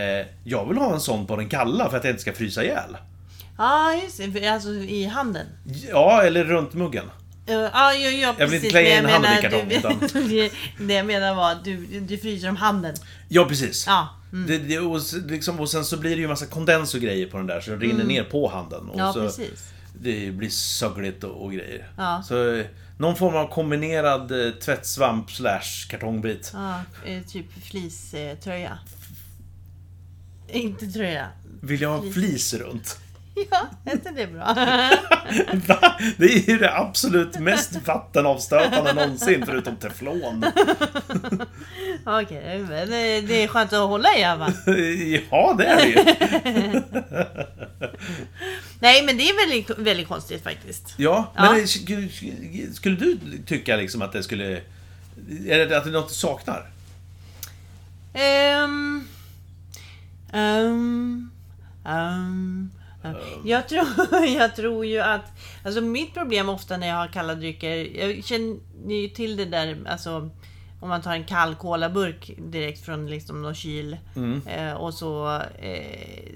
[SPEAKER 1] jag vill ha en sån på den kalla för att jag inte ska frysa ihjäl.
[SPEAKER 2] Ja, just det. För- Alltså i handen.
[SPEAKER 1] Ja, eller runt muggen.
[SPEAKER 2] Uh, ja, ja, ja,
[SPEAKER 1] Jag vill inte klä
[SPEAKER 2] men
[SPEAKER 1] in handen i
[SPEAKER 2] menar,
[SPEAKER 1] kartongen,
[SPEAKER 2] du, Det jag menar var att du, du fryser om handen.
[SPEAKER 1] Ja, precis.
[SPEAKER 2] Ja.
[SPEAKER 1] Mm. Det, det, och, s- liksom, och sen så blir det ju massa kondens och grejer på den där så den rinner ner på handen. Och
[SPEAKER 2] Mm. Ja,
[SPEAKER 1] så
[SPEAKER 2] precis.
[SPEAKER 1] Det blir sögligt och, och grejer.
[SPEAKER 2] Ja.
[SPEAKER 1] Så eh, någon form av kombinerad eh, tvättsvamp slash kartongbit.
[SPEAKER 2] Ja, eh, typ fleecetröja. Inte tröja.
[SPEAKER 1] Vill jag ha flis runt?
[SPEAKER 2] Ja, är inte det bra?
[SPEAKER 1] Va? Det är ju det absolut mest vattenavstötande någonsin, förutom teflon.
[SPEAKER 2] Okej, men eh, det är skönt att hålla i alla fall.
[SPEAKER 1] Ja, det är det ju.
[SPEAKER 2] Nej, men det är väldigt, väldigt konstigt faktiskt.
[SPEAKER 1] Ja, men
[SPEAKER 2] Ja.
[SPEAKER 1] eh, sk- skulle du tycka liksom att det skulle... Är det att det är något du saknar?
[SPEAKER 2] Ehm, ehm, ehm, ehm. Jag, tror, jag tror ju att... Alltså mitt problem ofta när jag har kalla drycker, jag känner ju till det där, alltså om man tar en kall colaburk direkt från liksom någon kyl eh, och så eh,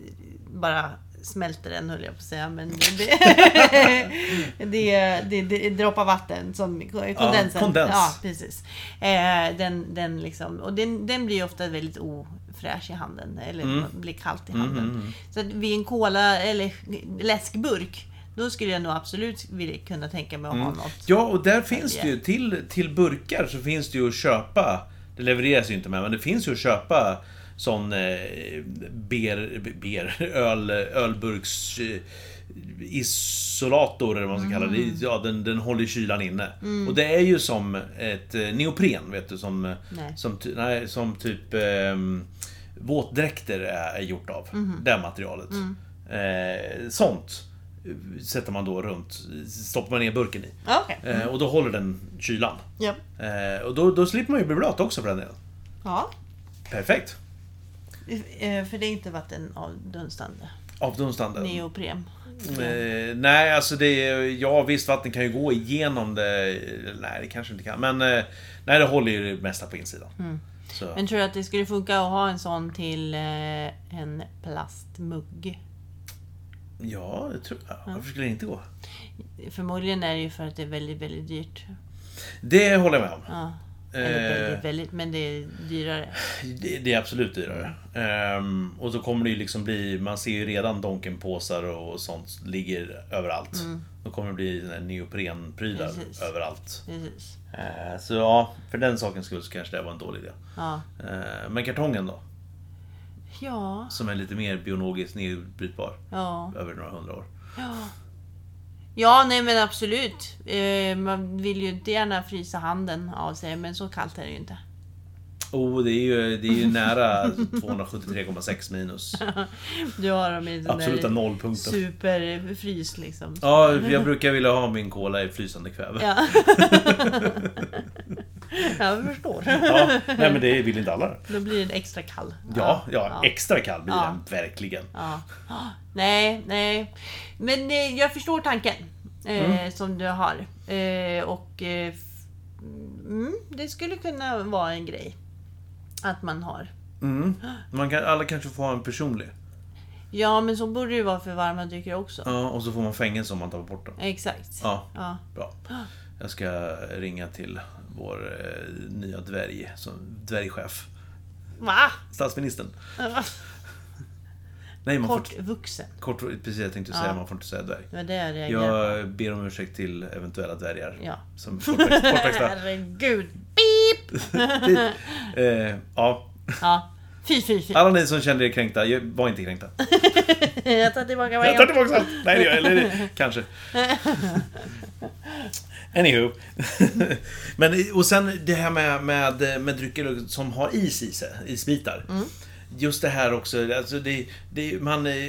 [SPEAKER 2] bara smälter den höll jag på att säga men det, det, det, det droppar vatten som kondensen.
[SPEAKER 1] kondens.
[SPEAKER 2] Ja, precis. Eh, den, den, liksom, och den, den blir ju ofta väldigt ofräsch i handen, eller
[SPEAKER 1] Mm.
[SPEAKER 2] blir kallt i handen. Så att vid en cola eller läskburk, då skulle jag nog absolut vilja kunna tänka mig att
[SPEAKER 1] Mm.
[SPEAKER 2] ha något.
[SPEAKER 1] Ja, och där finns det ju till, till burkar så finns det ju att köpa. Det levereras ju inte med, men det finns ju att köpa sån eh, ber, ber, öl, ölburks eh, isolator eller vad man ska kalla
[SPEAKER 2] Mm.
[SPEAKER 1] det. Ja, den, den håller kylan inne. Och det är ju som ett eh, neopren, vet du, som,
[SPEAKER 2] Nej.
[SPEAKER 1] som, ty, nej, som typ ehm, våtdräkter är, är gjort av.
[SPEAKER 2] Mhm.
[SPEAKER 1] Det materialet.
[SPEAKER 2] Mm.
[SPEAKER 1] Eh, sånt sätter man då runt, stoppar man ner burken i.
[SPEAKER 2] Ja, Okej.
[SPEAKER 1] Eh, Och då håller den kylan.
[SPEAKER 2] Ja.
[SPEAKER 1] Eh, Och då, då slipper man ju bli blöt också för den delen.
[SPEAKER 2] ja.
[SPEAKER 1] Perfekt.
[SPEAKER 2] Eh, För det är inte vattenavdunstande.
[SPEAKER 1] Avdunstande.
[SPEAKER 2] Neoprem.
[SPEAKER 1] Eh, Mm. nej, alltså det är... Ja, visst vatten kan ju gå igenom det. Eller Nej, det kanske inte kan. Men eh, nej, det håller ju det mesta på insidan. Så.
[SPEAKER 2] Mm. Men tror du att det skulle funka att ha en sån till eh, en plastmugg?
[SPEAKER 1] Ja, det tror jag. Varför skulle det inte gå?
[SPEAKER 2] Förmodligen är det ju för att det är väldigt, väldigt dyrt.
[SPEAKER 1] Det håller jag med om.
[SPEAKER 2] Ja. Eller
[SPEAKER 1] Eh.
[SPEAKER 2] väldigt, väldigt, men det är dyrare.
[SPEAKER 1] Det, det är absolut dyrare. Ehm, och så kommer det ju liksom bli, man ser ju redan Donken-påsar och sånt ligger överallt. Då kommer det bli såna här neoprenprylar
[SPEAKER 2] Mm. Precis.
[SPEAKER 1] överallt.
[SPEAKER 2] Precis.
[SPEAKER 1] Eh, så ja, för den sakens skull så kanske det var en dålig idé.
[SPEAKER 2] Ja.
[SPEAKER 1] Eh, men kartongen då?
[SPEAKER 2] Ja.
[SPEAKER 1] Som är lite mer biologiskt nedbrytbar
[SPEAKER 2] Ja.
[SPEAKER 1] över några hundra år.
[SPEAKER 2] Ja. Ja, nej men absolut. Eh, man vill ju inte gärna frysa handen av sig, men så kallt är det ju inte.
[SPEAKER 1] Oh, det är ju, det är ju nära 273,6 minus.
[SPEAKER 2] Du har dem i den
[SPEAKER 1] Absoluta
[SPEAKER 2] där
[SPEAKER 1] nollpunkten.
[SPEAKER 2] superfrys liksom.
[SPEAKER 1] Ja, jag brukar vilja ha min cola i flysande kväve. Ja.
[SPEAKER 2] Ja. jag förstår.
[SPEAKER 1] nej men det vill inte alla.
[SPEAKER 2] Då blir den extra kall.
[SPEAKER 1] Ja, ja, extra kall blir
[SPEAKER 2] Ja.
[SPEAKER 1] den verkligen.
[SPEAKER 2] Ja. Ah, Nej, nej. Men eh, jag förstår tanken eh,
[SPEAKER 1] Mm.
[SPEAKER 2] som du har. Eh, och eh, f- mm, det skulle kunna vara en grej. Att man har.
[SPEAKER 1] Mm. Man kan, alla kanske får ha en personlig.
[SPEAKER 2] Ja, men så borde det ju vara för varma drycker också.
[SPEAKER 1] Ja, och så får man fängelse om man tar bort den.
[SPEAKER 2] Exakt.
[SPEAKER 1] Ja,
[SPEAKER 2] Ja.
[SPEAKER 1] bra.
[SPEAKER 2] Ah.
[SPEAKER 1] Jag ska ringa till vår eh, nya dvärg, som dvärgchef.
[SPEAKER 2] Va?
[SPEAKER 1] Statsministern. Nej, man får,
[SPEAKER 2] Kort Ah. vuxen.
[SPEAKER 1] kort, precis jag tänkte säga,
[SPEAKER 2] Ja.
[SPEAKER 1] man får inte säga dvärg.
[SPEAKER 2] Det var det jag reagerade på.
[SPEAKER 1] Jag ber om ursäkt till eventuella dvärgar.
[SPEAKER 2] Ja.
[SPEAKER 1] Som kortväxt- kortväxta.
[SPEAKER 2] Herregud. Beep!
[SPEAKER 1] eh, ja.
[SPEAKER 2] Ja. Fy, fy, fy.
[SPEAKER 1] Alla ni som kände er kränkta, jag var inte kränkta.
[SPEAKER 2] Jag tar tillbaka vad
[SPEAKER 1] Jag tar
[SPEAKER 2] jag
[SPEAKER 1] tillbaka allt! Nej, det gör jag eller, Kanske. Anywho. Men, och sen det här med, med, med drycker som har is i sig, isbitar. Just det här också, alltså det, det, man, eh,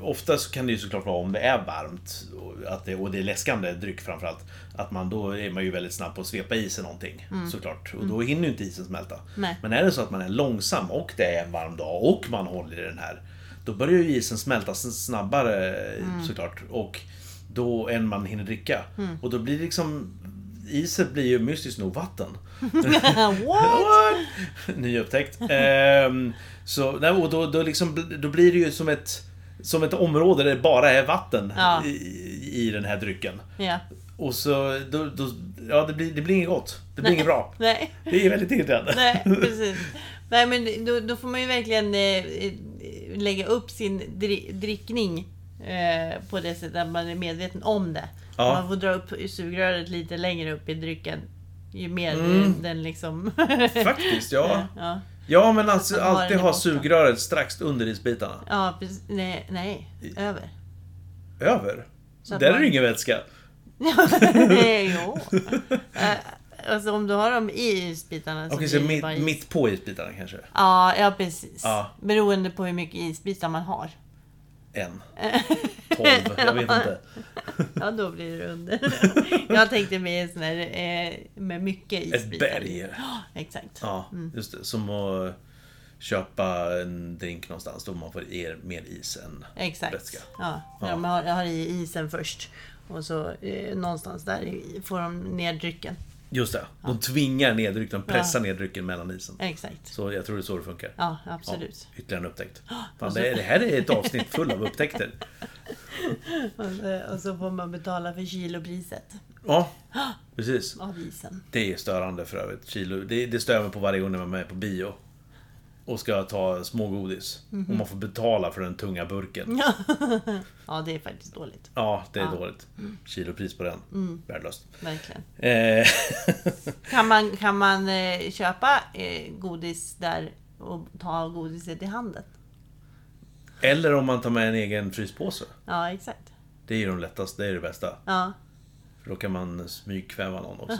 [SPEAKER 1] ofta så kan det ju såklart vara om det är varmt och, att det, och det är läskande dryck framförallt. Att man då är man ju väldigt snabb på att svepa i sig någonting såklart. Och då hinner ju inte isen smälta.
[SPEAKER 2] Nej.
[SPEAKER 1] Men är det så att man är långsam och det är en varm dag och man håller i den här. Då börjar ju isen smälta snabbare
[SPEAKER 2] Mm.
[SPEAKER 1] såklart. Och då än man hinner dricka. Och då blir det liksom Iset blir ju mystiskt nog vatten.
[SPEAKER 2] What?
[SPEAKER 1] Nyupptäckt. Ehm, så, nej, och då, då, liksom, då blir det ju som ett, som ett område där det bara är vatten
[SPEAKER 2] Ja.
[SPEAKER 1] i, i den här drycken.
[SPEAKER 2] Ja.
[SPEAKER 1] Och så, då, då, ja det blir, det blir inget gott. Det blir inget bra.
[SPEAKER 2] Nej.
[SPEAKER 1] Det är väldigt irriterande.
[SPEAKER 2] Nej, precis. Nej, men då, då får man ju verkligen eh, eh, lägga upp sin dri- drickning eh, på det sättet att man är medveten om det.
[SPEAKER 1] Ja.
[SPEAKER 2] Man får dra upp sugröret lite längre upp i drycken. Ju mer eh, den liksom...
[SPEAKER 1] Mm. Faktiskt, ja.
[SPEAKER 2] ja.
[SPEAKER 1] Ja men alltså,
[SPEAKER 2] Att ha den
[SPEAKER 1] alltid
[SPEAKER 2] i
[SPEAKER 1] ha
[SPEAKER 2] botten.
[SPEAKER 1] sugröret strax under isbitarna.
[SPEAKER 2] Ja, precis. Nej, nej. Över.
[SPEAKER 1] över.
[SPEAKER 2] Så att
[SPEAKER 1] Där är
[SPEAKER 2] man-
[SPEAKER 1] det ingen vätska.
[SPEAKER 2] jo. Eh, Alltså om du har dem i isbitarna så
[SPEAKER 1] Okej,
[SPEAKER 2] blir
[SPEAKER 1] så
[SPEAKER 2] det
[SPEAKER 1] mitt,
[SPEAKER 2] bara is.
[SPEAKER 1] mitt på isbitarna kanske?
[SPEAKER 2] Ja, ja precis.
[SPEAKER 1] Ja.
[SPEAKER 2] Beroende på hur mycket isbitar man har.
[SPEAKER 1] En? Tolv? Jag vet inte.
[SPEAKER 2] Ja, då blir det under. Jag tänkte mig en sån här eh, med mycket isbitar.
[SPEAKER 1] Ett berg?
[SPEAKER 2] Ja, Exakt.
[SPEAKER 1] Ja, just det. Som att köpa en drink någonstans då man får er mer is än...
[SPEAKER 2] Exakt.
[SPEAKER 1] Vätska.
[SPEAKER 2] Ja, när
[SPEAKER 1] Ja.
[SPEAKER 2] de har, har i isen först. Och så eh, någonstans där i- får de ner drycken.
[SPEAKER 1] Just det. De tvingar ner drycken, de pressar ner drycken mellan isen.
[SPEAKER 2] Exakt.
[SPEAKER 1] Så jag tror det är så det funkar.
[SPEAKER 2] Ja, absolut.
[SPEAKER 1] Ja, ytterligare en upptäckt. Fan, det, det här är ett avsnitt full av upptäckter.
[SPEAKER 2] Och, så- och så får man betala för kilopriset
[SPEAKER 1] Ja, precis.
[SPEAKER 2] av isen.
[SPEAKER 1] Det är störande för övrigt. Kilo. Det, det stör mig på varje gång när man är med på bio. Och ska ta smågodis. Och man får betala för den tunga
[SPEAKER 2] Mm.
[SPEAKER 1] burken.
[SPEAKER 2] Ja, det är faktiskt dåligt.
[SPEAKER 1] Ja, det är dåligt. Kilopris på den. Värdelöst.
[SPEAKER 2] Verkligen.
[SPEAKER 1] Eh,
[SPEAKER 2] Kan man, kan man eh, köpa eh, godis där och ta godiset i handen?
[SPEAKER 1] eller om man tar med en egen fryspåse.
[SPEAKER 2] Ja, exakt.
[SPEAKER 1] Det är ju de lättaste, det är det bästa.
[SPEAKER 2] Ja,
[SPEAKER 1] För då kan man smygkväva någon också.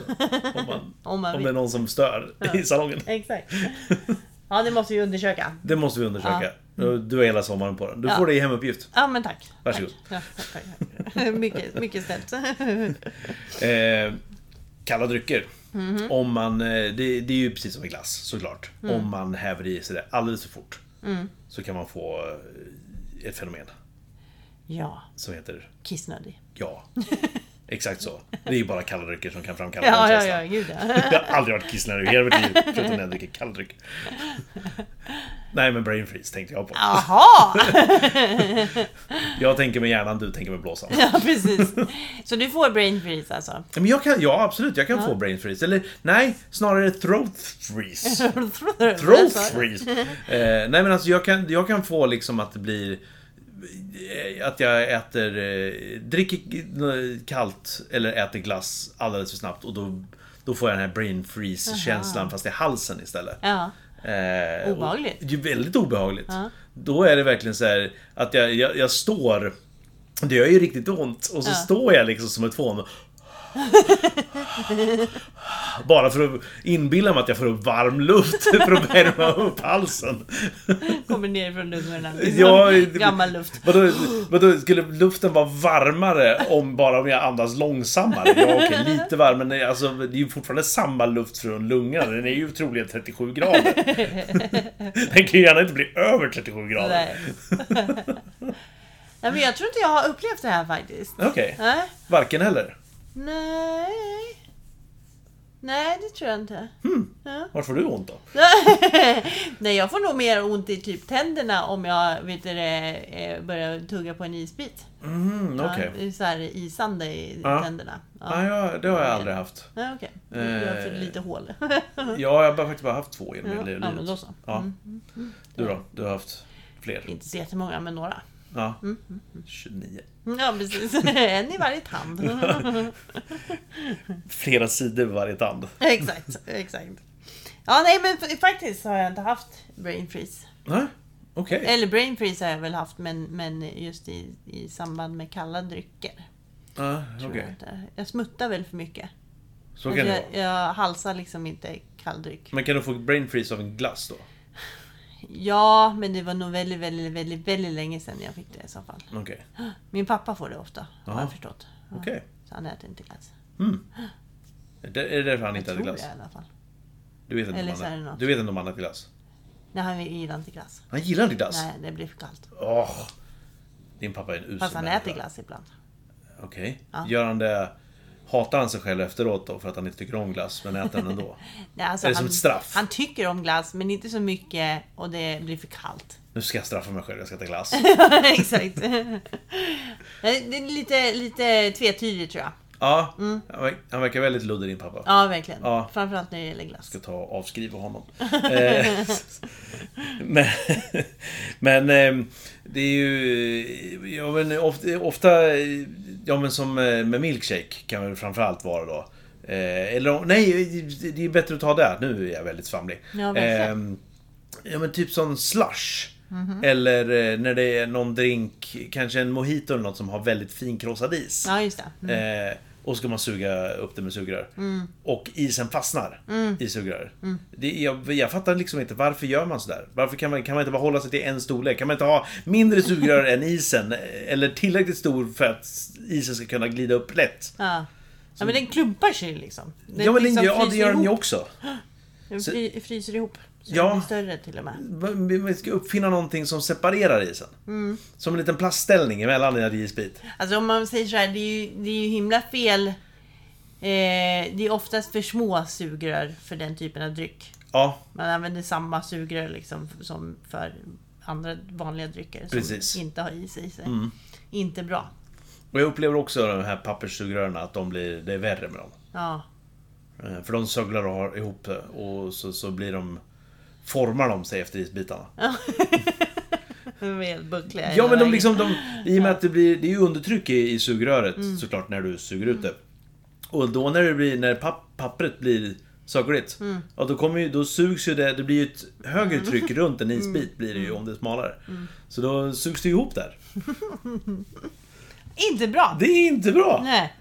[SPEAKER 1] Om, man,
[SPEAKER 2] om man
[SPEAKER 1] om det är
[SPEAKER 2] vill.
[SPEAKER 1] någon som stör i salongen.
[SPEAKER 2] Exakt. Ja, det måste vi undersöka.
[SPEAKER 1] Det måste vi undersöka. Du har hela sommaren på den. Du
[SPEAKER 2] Ja.
[SPEAKER 1] får det i hemuppgift.
[SPEAKER 2] Ja, men tack.
[SPEAKER 1] Varsågod.
[SPEAKER 2] Tack. Ja, tack, tack, tack. Mycket, mycket snällt.
[SPEAKER 1] Eh, kalla drycker.
[SPEAKER 2] Mhm.
[SPEAKER 1] Om man, eh, det, det är ju precis som med glass såklart.
[SPEAKER 2] Mm.
[SPEAKER 1] Om man häver i sig det alldeles för fort. Så kan man få eh, ett fenomen
[SPEAKER 2] Ja,
[SPEAKER 1] som heter
[SPEAKER 2] kissnödig.
[SPEAKER 1] ja. Exakt så. Det är ju bara kalla drycker som kan framkalla
[SPEAKER 2] Ja,
[SPEAKER 1] den
[SPEAKER 2] ja,
[SPEAKER 1] känslan.
[SPEAKER 2] ja, gud ja.
[SPEAKER 1] Jag har aldrig varit kissnödig i hela mitt liv. Förutom när jag dricker kall dryck. Nej men brain freeze tänkte jag på.
[SPEAKER 2] Jaha!
[SPEAKER 1] Jag tänker med hjärnan, du tänker med blåsan.
[SPEAKER 2] Ja, precis. Så du får brain freeze alltså?
[SPEAKER 1] Men jag kan, ja absolut, jag kan få brain freeze. Eller nej, snarare throat freeze. Throat
[SPEAKER 2] Alltså.
[SPEAKER 1] freeze! Eh, nej men alltså jag kan, jag kan få liksom att det blir eh, att jag äter, eh, dricker eh, kallt eller äter glass alldeles för snabbt och då, då får jag den här brain freeze känslan fast i halsen istället.
[SPEAKER 2] Ja.
[SPEAKER 1] Eh, och-
[SPEAKER 2] Obehagligt.
[SPEAKER 1] Det är väldigt obehagligt. Då är det verkligen så här att jag, jag, jag står, det gör ju riktigt ont, och så
[SPEAKER 2] Ja.
[SPEAKER 1] står jag liksom som ett fån. och- Bara för att inbilla mig att jag får upp varm luft för att värma upp halsen.
[SPEAKER 2] Kommer ner från lungorna.
[SPEAKER 1] Ja, det-
[SPEAKER 2] Liksom. Gammal luft.
[SPEAKER 1] Vadå, vadå, skulle luften vara varmare om bara om jag andas långsammare? Ja, okej, lite varmare, men alltså, det är ju fortfarande samma luft från lungan. Den är ju troligen 37 grader. Den kan ju gärna inte bli över 37 grader.
[SPEAKER 2] Nej. Nej, men jag tror inte jag har upplevt det här faktiskt.
[SPEAKER 1] Okej,
[SPEAKER 2] Nej.
[SPEAKER 1] varken eller.
[SPEAKER 2] Nej. Nej, det tror jag inte. Ja.
[SPEAKER 1] Vart får du ont då?
[SPEAKER 2] Nej, jag får nog mer ont i typ tänderna om jag vet du, det, eh, börjar tugga på en isbit.
[SPEAKER 1] Mm, okej.
[SPEAKER 2] Ja, det är så här isande i
[SPEAKER 1] Ja.
[SPEAKER 2] tänderna. Ja.
[SPEAKER 1] Nej, jag- det har jag aldrig haft.
[SPEAKER 2] Nej, okej. Du har för
[SPEAKER 1] Eh.
[SPEAKER 2] lite hål.
[SPEAKER 1] Ja, jag har faktiskt bara haft två genom
[SPEAKER 2] Ja,
[SPEAKER 1] hela
[SPEAKER 2] ja,
[SPEAKER 1] livet.
[SPEAKER 2] men då så. Mm.
[SPEAKER 1] Ja. Du då? Du har haft fler?
[SPEAKER 2] Inte så jättemånga, men några.
[SPEAKER 1] Ja.
[SPEAKER 2] Mm,
[SPEAKER 1] 29.
[SPEAKER 2] Ja, precis. En i varje tand.
[SPEAKER 1] Flera sidor vid varje tand.
[SPEAKER 2] exakt, exakt. Ja, nej men f- faktiskt har jag inte haft brain freeze.
[SPEAKER 1] Nej, okej.
[SPEAKER 2] Eller brain freeze har jag väl haft, men, men just i, i samband med kalla drycker.
[SPEAKER 1] Ja,
[SPEAKER 2] tror
[SPEAKER 1] okej.
[SPEAKER 2] jag inte. Jag smuttar väl för mycket.
[SPEAKER 1] Så kan
[SPEAKER 2] Alltså,
[SPEAKER 1] det
[SPEAKER 2] jag,
[SPEAKER 1] vara.
[SPEAKER 2] jag halsar liksom inte kalldryck.
[SPEAKER 1] Men kan du få brain freeze av en glass då?
[SPEAKER 2] Ja, men det var nog väldigt, väldigt, väldigt, väldigt länge sedan jag fick det i så fall.
[SPEAKER 1] Okej.
[SPEAKER 2] Min pappa får det ofta, har
[SPEAKER 1] Jaha.
[SPEAKER 2] jag förstått. Ja,
[SPEAKER 1] Okej.
[SPEAKER 2] Så han äter inte glass.
[SPEAKER 1] Är det- Är det därför han inte äter
[SPEAKER 2] Tror jag i
[SPEAKER 1] glass?
[SPEAKER 2] alla fall.
[SPEAKER 1] Du vet inte om
[SPEAKER 2] Eller
[SPEAKER 1] han
[SPEAKER 2] så är det
[SPEAKER 1] äter-
[SPEAKER 2] något.
[SPEAKER 1] du vet inte om han äter glass?
[SPEAKER 2] Nej, han gillar inte glass.
[SPEAKER 1] Han gillar inte glass?
[SPEAKER 2] Nej, det blir för kallt.
[SPEAKER 1] Åh! Din pappa Alltså, är en usel
[SPEAKER 2] Fast han
[SPEAKER 1] människa.
[SPEAKER 2] äter glass ibland.
[SPEAKER 1] Okej.
[SPEAKER 2] Ja.
[SPEAKER 1] Gör han det... Hatar han sig själv efteråt då för att han inte tycker om glass, men äter den ändå?
[SPEAKER 2] Nej, alltså
[SPEAKER 1] Är det som ett straff?
[SPEAKER 2] Han tycker om glass, men inte så mycket och det blir för kallt.
[SPEAKER 1] Nu ska jag straffa mig själv, jag ska äta glass.
[SPEAKER 2] Exakt. Nej, det är lite, lite tvetydigt tror jag.
[SPEAKER 1] Ja,
[SPEAKER 2] Mm.
[SPEAKER 1] han verk- han verkar väldigt luddig din pappa.
[SPEAKER 2] Ja, verkligen.
[SPEAKER 1] Ja.
[SPEAKER 2] Framförallt när det gäller glass.
[SPEAKER 1] ska ta och avskriva honom. Eh, men men eh, det är ju... Ja, men ofta, ofta... eh, Ja, men som eh, med milkshake kan väl framförallt vara då. Eh, Eller om- nej, det- det är bättre att ta det. Nu är jag väldigt svamlig.
[SPEAKER 2] Ja, verkligen. Mhm.
[SPEAKER 1] Eh, Ja, men typ som slush. Eller eh, när det är någon drink, kanske en mojito eller något som har väldigt finkrossad is.
[SPEAKER 2] Ja, just det. Mm.
[SPEAKER 1] Eh, och ska man suga upp det med sugrör. Och isen fastnar
[SPEAKER 2] Mm.
[SPEAKER 1] i sugrör. Det, jag, jag fattar liksom inte, varför gör man sådär? Varför kan man, kan man inte bara hålla sig till en storlek? Kan man inte ha mindre sugrör än isen? Eller tillräckligt stor för att isen ska kunna glida upp lätt?
[SPEAKER 2] Ja. ja, men den klumpar sig liksom. Den
[SPEAKER 1] ja, men
[SPEAKER 2] liksom
[SPEAKER 1] den, ja, det
[SPEAKER 2] fryser
[SPEAKER 1] gör den ju
[SPEAKER 2] ihop.
[SPEAKER 1] också.
[SPEAKER 2] Den fry, fryser ihop. Så
[SPEAKER 1] Ja.
[SPEAKER 2] den blir större till och med.
[SPEAKER 1] Vi vi ska uppfinna någonting som separerar isen.
[SPEAKER 2] Mm.
[SPEAKER 1] Som en liten plastställning emellan en isbit.
[SPEAKER 2] Alltså om man säger så här, det är ju, det är ju himla fel. Eh, det är oftast för små sugrör för den typen av dryck.
[SPEAKER 1] Ja,
[SPEAKER 2] Man använder samma sugrör liksom som för andra vanliga drycker som
[SPEAKER 1] Precis. Mm.
[SPEAKER 2] inte har is i sig. Inte bra.
[SPEAKER 1] och jag upplever också de här papperssugrörerna att de blir, det är värre med dem.
[SPEAKER 2] Ja.
[SPEAKER 1] Eh, För de söglar och har ihop det och så, så blir de... Formar de sig efter isbitarna.
[SPEAKER 2] De är helt buckliga
[SPEAKER 1] Ja
[SPEAKER 2] hela
[SPEAKER 1] men de
[SPEAKER 2] vägen.
[SPEAKER 1] liksom, de, i och med att det blir, det är ju undertryck i, i sugröret
[SPEAKER 2] Mm.
[SPEAKER 1] såklart när du suger ut det. Och då när det blir, när papp, pappret blir sögligt,
[SPEAKER 2] Mm.
[SPEAKER 1] ja då kommer ju, då sugs ju det, det blir ju ett högre tryck runt en isbit
[SPEAKER 2] Mm.
[SPEAKER 1] blir det ju om det är smalare. Så då sugs det ihop där.
[SPEAKER 2] Inte bra!
[SPEAKER 1] Det är inte bra!
[SPEAKER 2] Nej.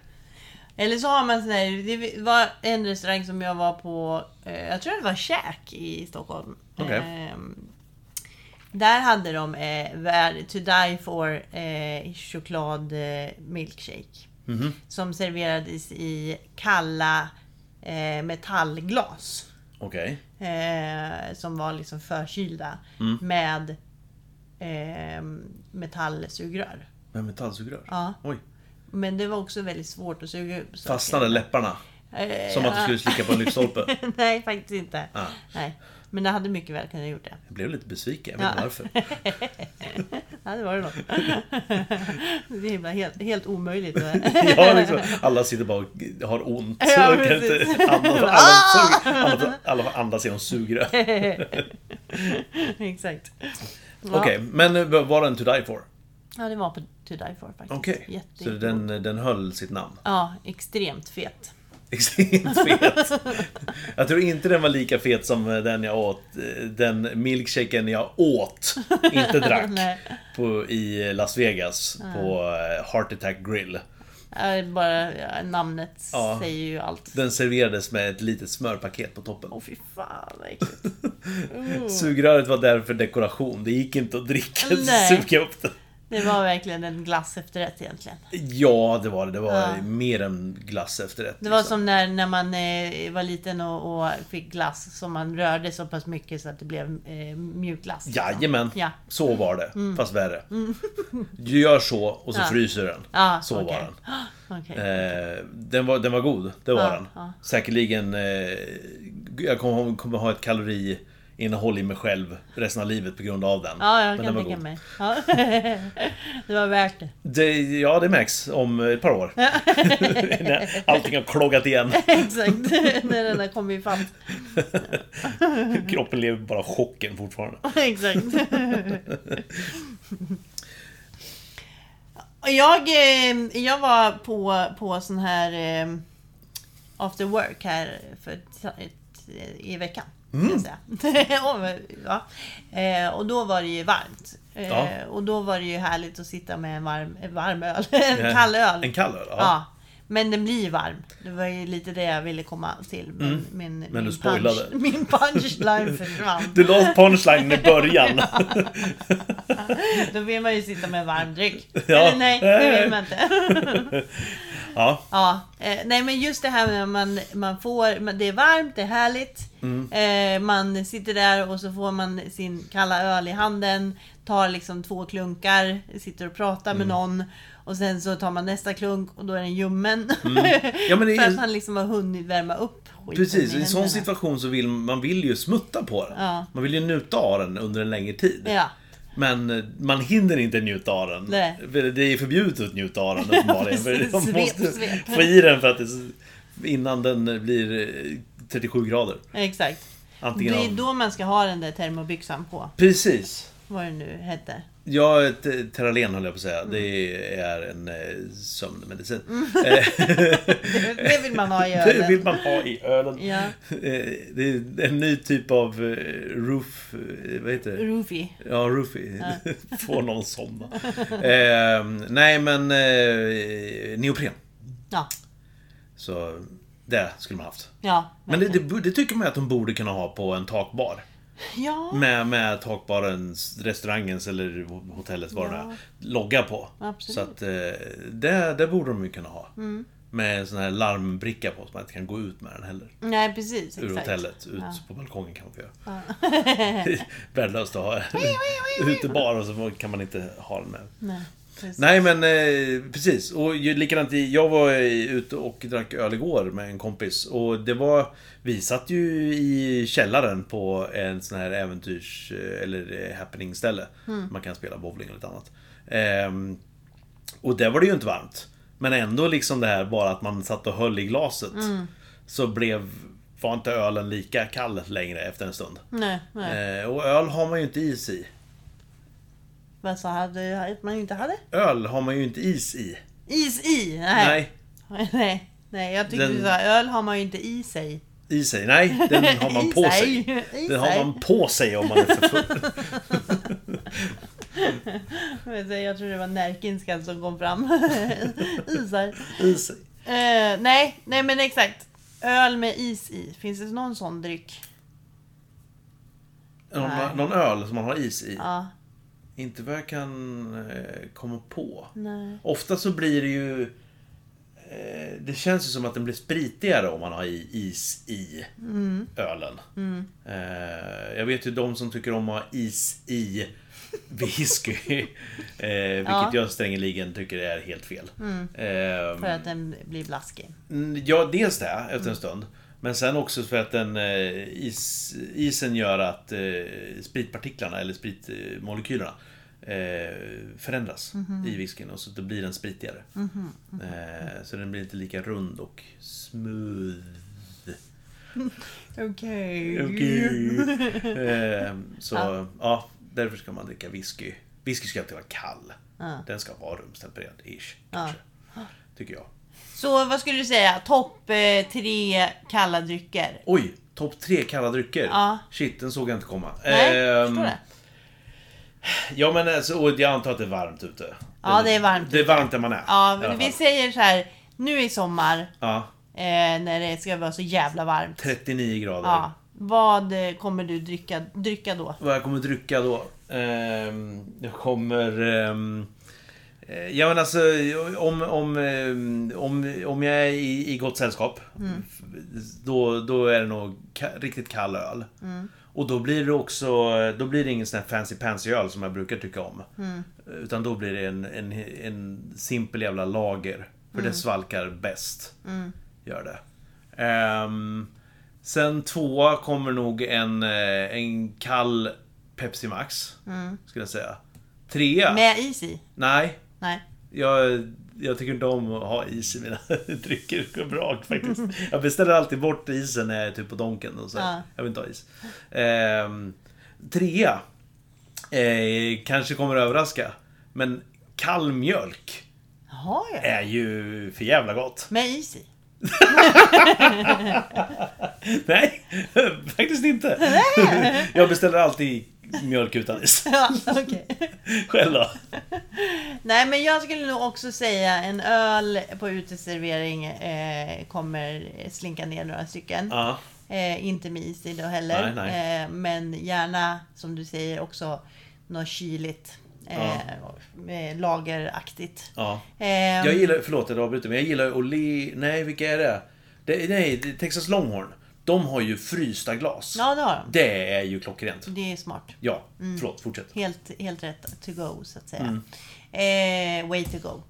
[SPEAKER 2] Eller så har man sån här, det var en restaurang som jag var på, eh, jag tror det var Käk i Stockholm.
[SPEAKER 1] Okej.
[SPEAKER 2] Ehm, där hade de eh, vär- To Die For eh, choklad eh, milkshake. Som serverades i kalla eh, metallglas.
[SPEAKER 1] Okej.
[SPEAKER 2] Eh, som var liksom förkylda. Med eh, metallsugrör.
[SPEAKER 1] Men metallsugrör?
[SPEAKER 2] Ja.
[SPEAKER 1] Oj.
[SPEAKER 2] Men det var också väldigt svårt att suga upp saker.
[SPEAKER 1] Fastnade läpparna?
[SPEAKER 2] Eh,
[SPEAKER 1] Som att du
[SPEAKER 2] ja.
[SPEAKER 1] skulle slicka på en lyktstolpe?
[SPEAKER 2] Nej, faktiskt inte.
[SPEAKER 1] Ah.
[SPEAKER 2] Nej. Men det hade mycket väl kunnat gjort det.
[SPEAKER 1] Jag blev lite besviken, jag vet inte
[SPEAKER 2] Ja.
[SPEAKER 1] varför.
[SPEAKER 2] Ja, det var det nog. det är himla helt, helt omöjligt.
[SPEAKER 1] Ja, liksom, alla sitter bara och har ont.
[SPEAKER 2] Ja,
[SPEAKER 1] Alla kan
[SPEAKER 2] precis. Ah!
[SPEAKER 1] inte- alla, får- alla, får- alla, får- alla får andas genom sugrör.
[SPEAKER 2] Exakt. Ja.
[SPEAKER 1] Okej, men eh, var den to die for?
[SPEAKER 2] Ja, det var på To Die For faktiskt.
[SPEAKER 1] Okej.
[SPEAKER 2] Jätte-
[SPEAKER 1] Så den, den höll sitt namn.
[SPEAKER 2] Ja, extremt fet.
[SPEAKER 1] Extremt fet. Jag tror inte den var lika fet som eh, den jag åt. eh, Den milkshaken jag åt, inte drack.
[SPEAKER 2] Nej.
[SPEAKER 1] På, I Las Vegas på eh, Heart Attack Grill.
[SPEAKER 2] Ja, Bara ja, namnet
[SPEAKER 1] Ja.
[SPEAKER 2] säger ju allt.
[SPEAKER 1] Den serverades med ett litet smörpaket på toppen.
[SPEAKER 2] Åh fy fan vad äckligt. Mm.
[SPEAKER 1] Sugröret var där för dekoration. Det gick inte att dricka,
[SPEAKER 2] Nej.
[SPEAKER 1] suga upp det.
[SPEAKER 2] Det var verkligen en glass efterrätt egentligen.
[SPEAKER 1] Ja, det var det. Det var
[SPEAKER 2] Ja.
[SPEAKER 1] mer än glass efterrätt.
[SPEAKER 2] Det var
[SPEAKER 1] liksom.
[SPEAKER 2] som när, när man eh, var liten och, och fick glass som man rörde så pass mycket så att det blev eh, mjukglass. liksom.
[SPEAKER 1] Jajamän,
[SPEAKER 2] Ja. Mm.
[SPEAKER 1] så var det. Fast värre. Du gör så och så
[SPEAKER 2] Ja.
[SPEAKER 1] fryser den.
[SPEAKER 2] Ja,
[SPEAKER 1] så var
[SPEAKER 2] okej.
[SPEAKER 1] den.
[SPEAKER 2] Okej.
[SPEAKER 1] Eh, den, var, den var god, det var
[SPEAKER 2] Ja,
[SPEAKER 1] den.
[SPEAKER 2] ja.
[SPEAKER 1] Säkerligen, eh, jag kommer, kommer ha ett kaloriinnehåll i mig själv resten av livet på grund av den.
[SPEAKER 2] Ja, jag
[SPEAKER 1] Men
[SPEAKER 2] kan
[SPEAKER 1] den var
[SPEAKER 2] tänka
[SPEAKER 1] god.
[SPEAKER 2] mig. Ja. det var värt det.
[SPEAKER 1] Det, ja, det märks om ett par år. När Allting har kloggat igen.
[SPEAKER 2] Exakt, när den där kom ifatt.
[SPEAKER 1] Kroppen lever bara chocken fortfarande.
[SPEAKER 2] Exakt. Och jag, eh, jag var på, på sån här eh, after work här för ett, ett, i veckan. Mm. Jag säga. Och, ja. Eh, och då var det ju varmt. Eh,
[SPEAKER 1] Ja.
[SPEAKER 2] Och då var det ju härligt att sitta med en varm, en varm öl. En kall öl.
[SPEAKER 1] En kall öl? Ja.
[SPEAKER 2] Ja. Men den blir varm. Det var ju lite det jag ville komma till. Men, min,
[SPEAKER 1] Mm. du
[SPEAKER 2] min,
[SPEAKER 1] spoilade.
[SPEAKER 2] punch, min punchline försvann.
[SPEAKER 1] Du la punchlinen i början.
[SPEAKER 2] Då vill man ju sitta med en varm dryck.
[SPEAKER 1] Ja.
[SPEAKER 2] Eller nej, det vill man inte.
[SPEAKER 1] Ja,
[SPEAKER 2] Ja, eh, nej men just det här med att man, man får, men det är varmt, det är härligt.
[SPEAKER 1] Mm.
[SPEAKER 2] Eh, man sitter där och så får man sin kalla öl i handen. Tar liksom två klunkar, sitter och pratar
[SPEAKER 1] Mm.
[SPEAKER 2] med någon. Och sen så tar man nästa klunk och då är den ljummen.
[SPEAKER 1] Mm. ja men det
[SPEAKER 2] För att
[SPEAKER 1] är,
[SPEAKER 2] man liksom har hunnit värma upp skiten
[SPEAKER 1] precis. I en
[SPEAKER 2] händerna.
[SPEAKER 1] sån situation så vill man vill ju smutta på den.
[SPEAKER 2] Ja.
[SPEAKER 1] Man vill ju njuta av den under en längre tid.
[SPEAKER 2] Ja.
[SPEAKER 1] Men eh, man hinner inte njuta av den.
[SPEAKER 2] Nej.
[SPEAKER 1] För Det är förbjudet att njuta av den uppenbarligen. För
[SPEAKER 2] precis.
[SPEAKER 1] man
[SPEAKER 2] Svep,
[SPEAKER 1] måste
[SPEAKER 2] svep.
[SPEAKER 1] få i den för att det, är så- innan den blir eh, 37 grader.
[SPEAKER 2] Exakt. Det
[SPEAKER 1] Antingen
[SPEAKER 2] är
[SPEAKER 1] av...
[SPEAKER 2] då man ska ha den där termobyxan på.
[SPEAKER 1] Precis.
[SPEAKER 2] Vad det nu hette.
[SPEAKER 1] Ja, t- Teralen eh, höll jag på att säga. Det är en eh, sömnmedicin. Eh,
[SPEAKER 2] Det, Mm. det vill man ha i
[SPEAKER 1] det vill
[SPEAKER 2] ölen.
[SPEAKER 1] man ha i ölen.
[SPEAKER 2] Ja.
[SPEAKER 1] Eh, Det är en ny typ av eh, roof... eh, Vad heter det?
[SPEAKER 2] Roofy.
[SPEAKER 1] Ja, Roofy. Får någon somna. Eh, nej, men eh, neopren.
[SPEAKER 2] Ja.
[SPEAKER 1] Så det skulle man haft.
[SPEAKER 2] Ja.
[SPEAKER 1] Men det, det, bo- det tycker man ju att de borde kunna ha på en takbar.
[SPEAKER 2] Ja.
[SPEAKER 1] Med, med takbarens, restaurangens eller hotellets, vad det nu
[SPEAKER 2] Ja.
[SPEAKER 1] är, logga på.
[SPEAKER 2] Absolut. Mm.
[SPEAKER 1] Så att eh, det, det borde de ju kunna ha. Med en sån här larmbricka på så man inte kan gå ut med den heller.
[SPEAKER 2] Nej, precis.
[SPEAKER 1] Ur
[SPEAKER 2] Exakt.
[SPEAKER 1] hotellet, ut
[SPEAKER 2] Ja.
[SPEAKER 1] på balkongen kan man få göra. Värdelöst att ha utebar och så kan man inte ha den med.
[SPEAKER 2] Nej, precis.
[SPEAKER 1] Nej men eh, precis, och ju- likadant i- jag var eh, ute och drack öl igår med en kompis och det var Vi satt ju i källaren på en sån här äventyrs eh, eller eh, happening-ställe
[SPEAKER 2] Mm.
[SPEAKER 1] Man kan spela bowling eller lite annat Ehm, Och där var det ju inte varmt Men ändå liksom det här bara att man satt och höll i glaset
[SPEAKER 2] Mm.
[SPEAKER 1] Så blev Var inte ölen lika kall längre efter en stund
[SPEAKER 2] Nej, nej.
[SPEAKER 1] Eh, Och öl har man ju inte is i
[SPEAKER 2] Vad sa hade att man inte hade?
[SPEAKER 1] Öl har man ju inte is i
[SPEAKER 2] Is i? Nej.
[SPEAKER 1] Nej
[SPEAKER 2] Nej. nej. jag tyckte
[SPEAKER 1] Den-
[SPEAKER 2] du sa öl har man ju inte i sig.
[SPEAKER 1] I sig? Nej, den har man
[SPEAKER 2] I
[SPEAKER 1] på sig.
[SPEAKER 2] sig. I
[SPEAKER 1] Den har
[SPEAKER 2] sig.
[SPEAKER 1] man på sig om man är för full.
[SPEAKER 2] Men det- Jag tror det var närkinskan som kom fram. Isar.
[SPEAKER 1] I sig.
[SPEAKER 2] Eh, nej, nej men exakt. Öl med is i. Finns det någon sån dryck? Nej.
[SPEAKER 1] Någon, någon öl som man har is i?
[SPEAKER 2] Ja.
[SPEAKER 1] Inte vad jag kan eh, komma på.
[SPEAKER 2] Nej.
[SPEAKER 1] Ofta så blir det ju... Eh, det känns ju som att den blir spritigare om man har i is i
[SPEAKER 2] Mm.
[SPEAKER 1] ölen. Eh, jag vet ju de som tycker om att ha is i whisky. eh, vilket
[SPEAKER 2] Ja. Mm.
[SPEAKER 1] jag strängeligen tycker är helt fel. Ehm,
[SPEAKER 2] För att den blir blaskig.
[SPEAKER 1] Mm, Ja, dels det efter en stund. Men sen också för att den, eh, is, isen gör att eh, spritpartiklarna eller spritmolekylerna eh, förändras
[SPEAKER 2] Mhm.
[SPEAKER 1] i whiskyn och så det blir den spritigare. Eh, så den blir inte lika rund och smooth.
[SPEAKER 2] Okej.
[SPEAKER 1] Okej. eh, så ja. därför ska man dricka whisky. Whisky ska alltid vara kall.
[SPEAKER 2] Ja.
[SPEAKER 1] Den ska vara rumstempererad, ish. Kanske. Tycker jag.
[SPEAKER 2] Så vad skulle du säga? Topp eh, tre kalla drycker?
[SPEAKER 1] Oj! Topp tre kalla drycker.
[SPEAKER 2] Ja.
[SPEAKER 1] Shit, den såg jag inte komma.
[SPEAKER 2] Nej,
[SPEAKER 1] Ehm,
[SPEAKER 2] förstår det.
[SPEAKER 1] Ja men alltså, och jag antar att det är varmt ute.
[SPEAKER 2] Ja, det är varmt
[SPEAKER 1] Det är varmt där man är.
[SPEAKER 2] Ja,
[SPEAKER 1] i alla
[SPEAKER 2] men vi
[SPEAKER 1] fall.
[SPEAKER 2] säger så här. Nu i sommar,
[SPEAKER 1] ja,
[SPEAKER 2] eh, när det ska vara så jävla varmt.
[SPEAKER 1] 39 grader.
[SPEAKER 2] Ja. Vad eh, kommer du dricka, dricka då?
[SPEAKER 1] Vad jag kommer dricka då? Ehm, jag kommer... ehm, eh, ja men alltså, om, om, ehm, om, om jag är i, i gott sällskap. f- Då, då är det nog ka- riktigt kall öl. Och då blir det också, då blir det ingen sån här fancy pansy öl som jag brukar tycka om. Utan då blir det en, en, en simpel jävla lager. För det svalkar bäst. Gör det. Ehm, sen tvåa kommer nog en, eh, en kall Pepsi Max. Skulle jag säga. Trea?
[SPEAKER 2] Med is i?
[SPEAKER 1] Nej.
[SPEAKER 2] Nej.
[SPEAKER 1] Jag, jag tycker inte om att ha is i mina drycker och vrak faktiskt. Jag beställer alltid bort isen när jag är typ på Donken och så.
[SPEAKER 2] Ja.
[SPEAKER 1] Jag vill inte ha is. Ehm, trea. Eh, kanske kommer att överraska. Men kall mjölk
[SPEAKER 2] Jaha ja.
[SPEAKER 1] är ju för jävla gott.
[SPEAKER 2] Med is i?
[SPEAKER 1] Nej, faktiskt inte. Jag beställer alltid mjölk utan is.
[SPEAKER 2] Ja, okej.
[SPEAKER 1] Själv då?
[SPEAKER 2] Nej men jag skulle nog också säga en öl på uteservering eh, kommer slinka ner några stycken.
[SPEAKER 1] Ja.
[SPEAKER 2] Eh, inte med is i då heller.
[SPEAKER 1] Nej, nej.
[SPEAKER 2] Eh, men gärna, som du säger, också något kyligt. Eh, eh, Lageraktigt.
[SPEAKER 1] ja.
[SPEAKER 2] Ehm,
[SPEAKER 1] Jag gillar, förlåt att jag avbryter, men jag gillar Ole... Nej, vilka är det? det nej, det är Texas Longhorn. De har ju frysta glas.
[SPEAKER 2] Ja, Mm. det har de.
[SPEAKER 1] Det är ju klockrent.
[SPEAKER 2] Det är smart.
[SPEAKER 1] Ja, förlåt, fortsätt.
[SPEAKER 2] Helt, helt rätt to go, så att
[SPEAKER 1] Mm.
[SPEAKER 2] säga. Eh, way to go.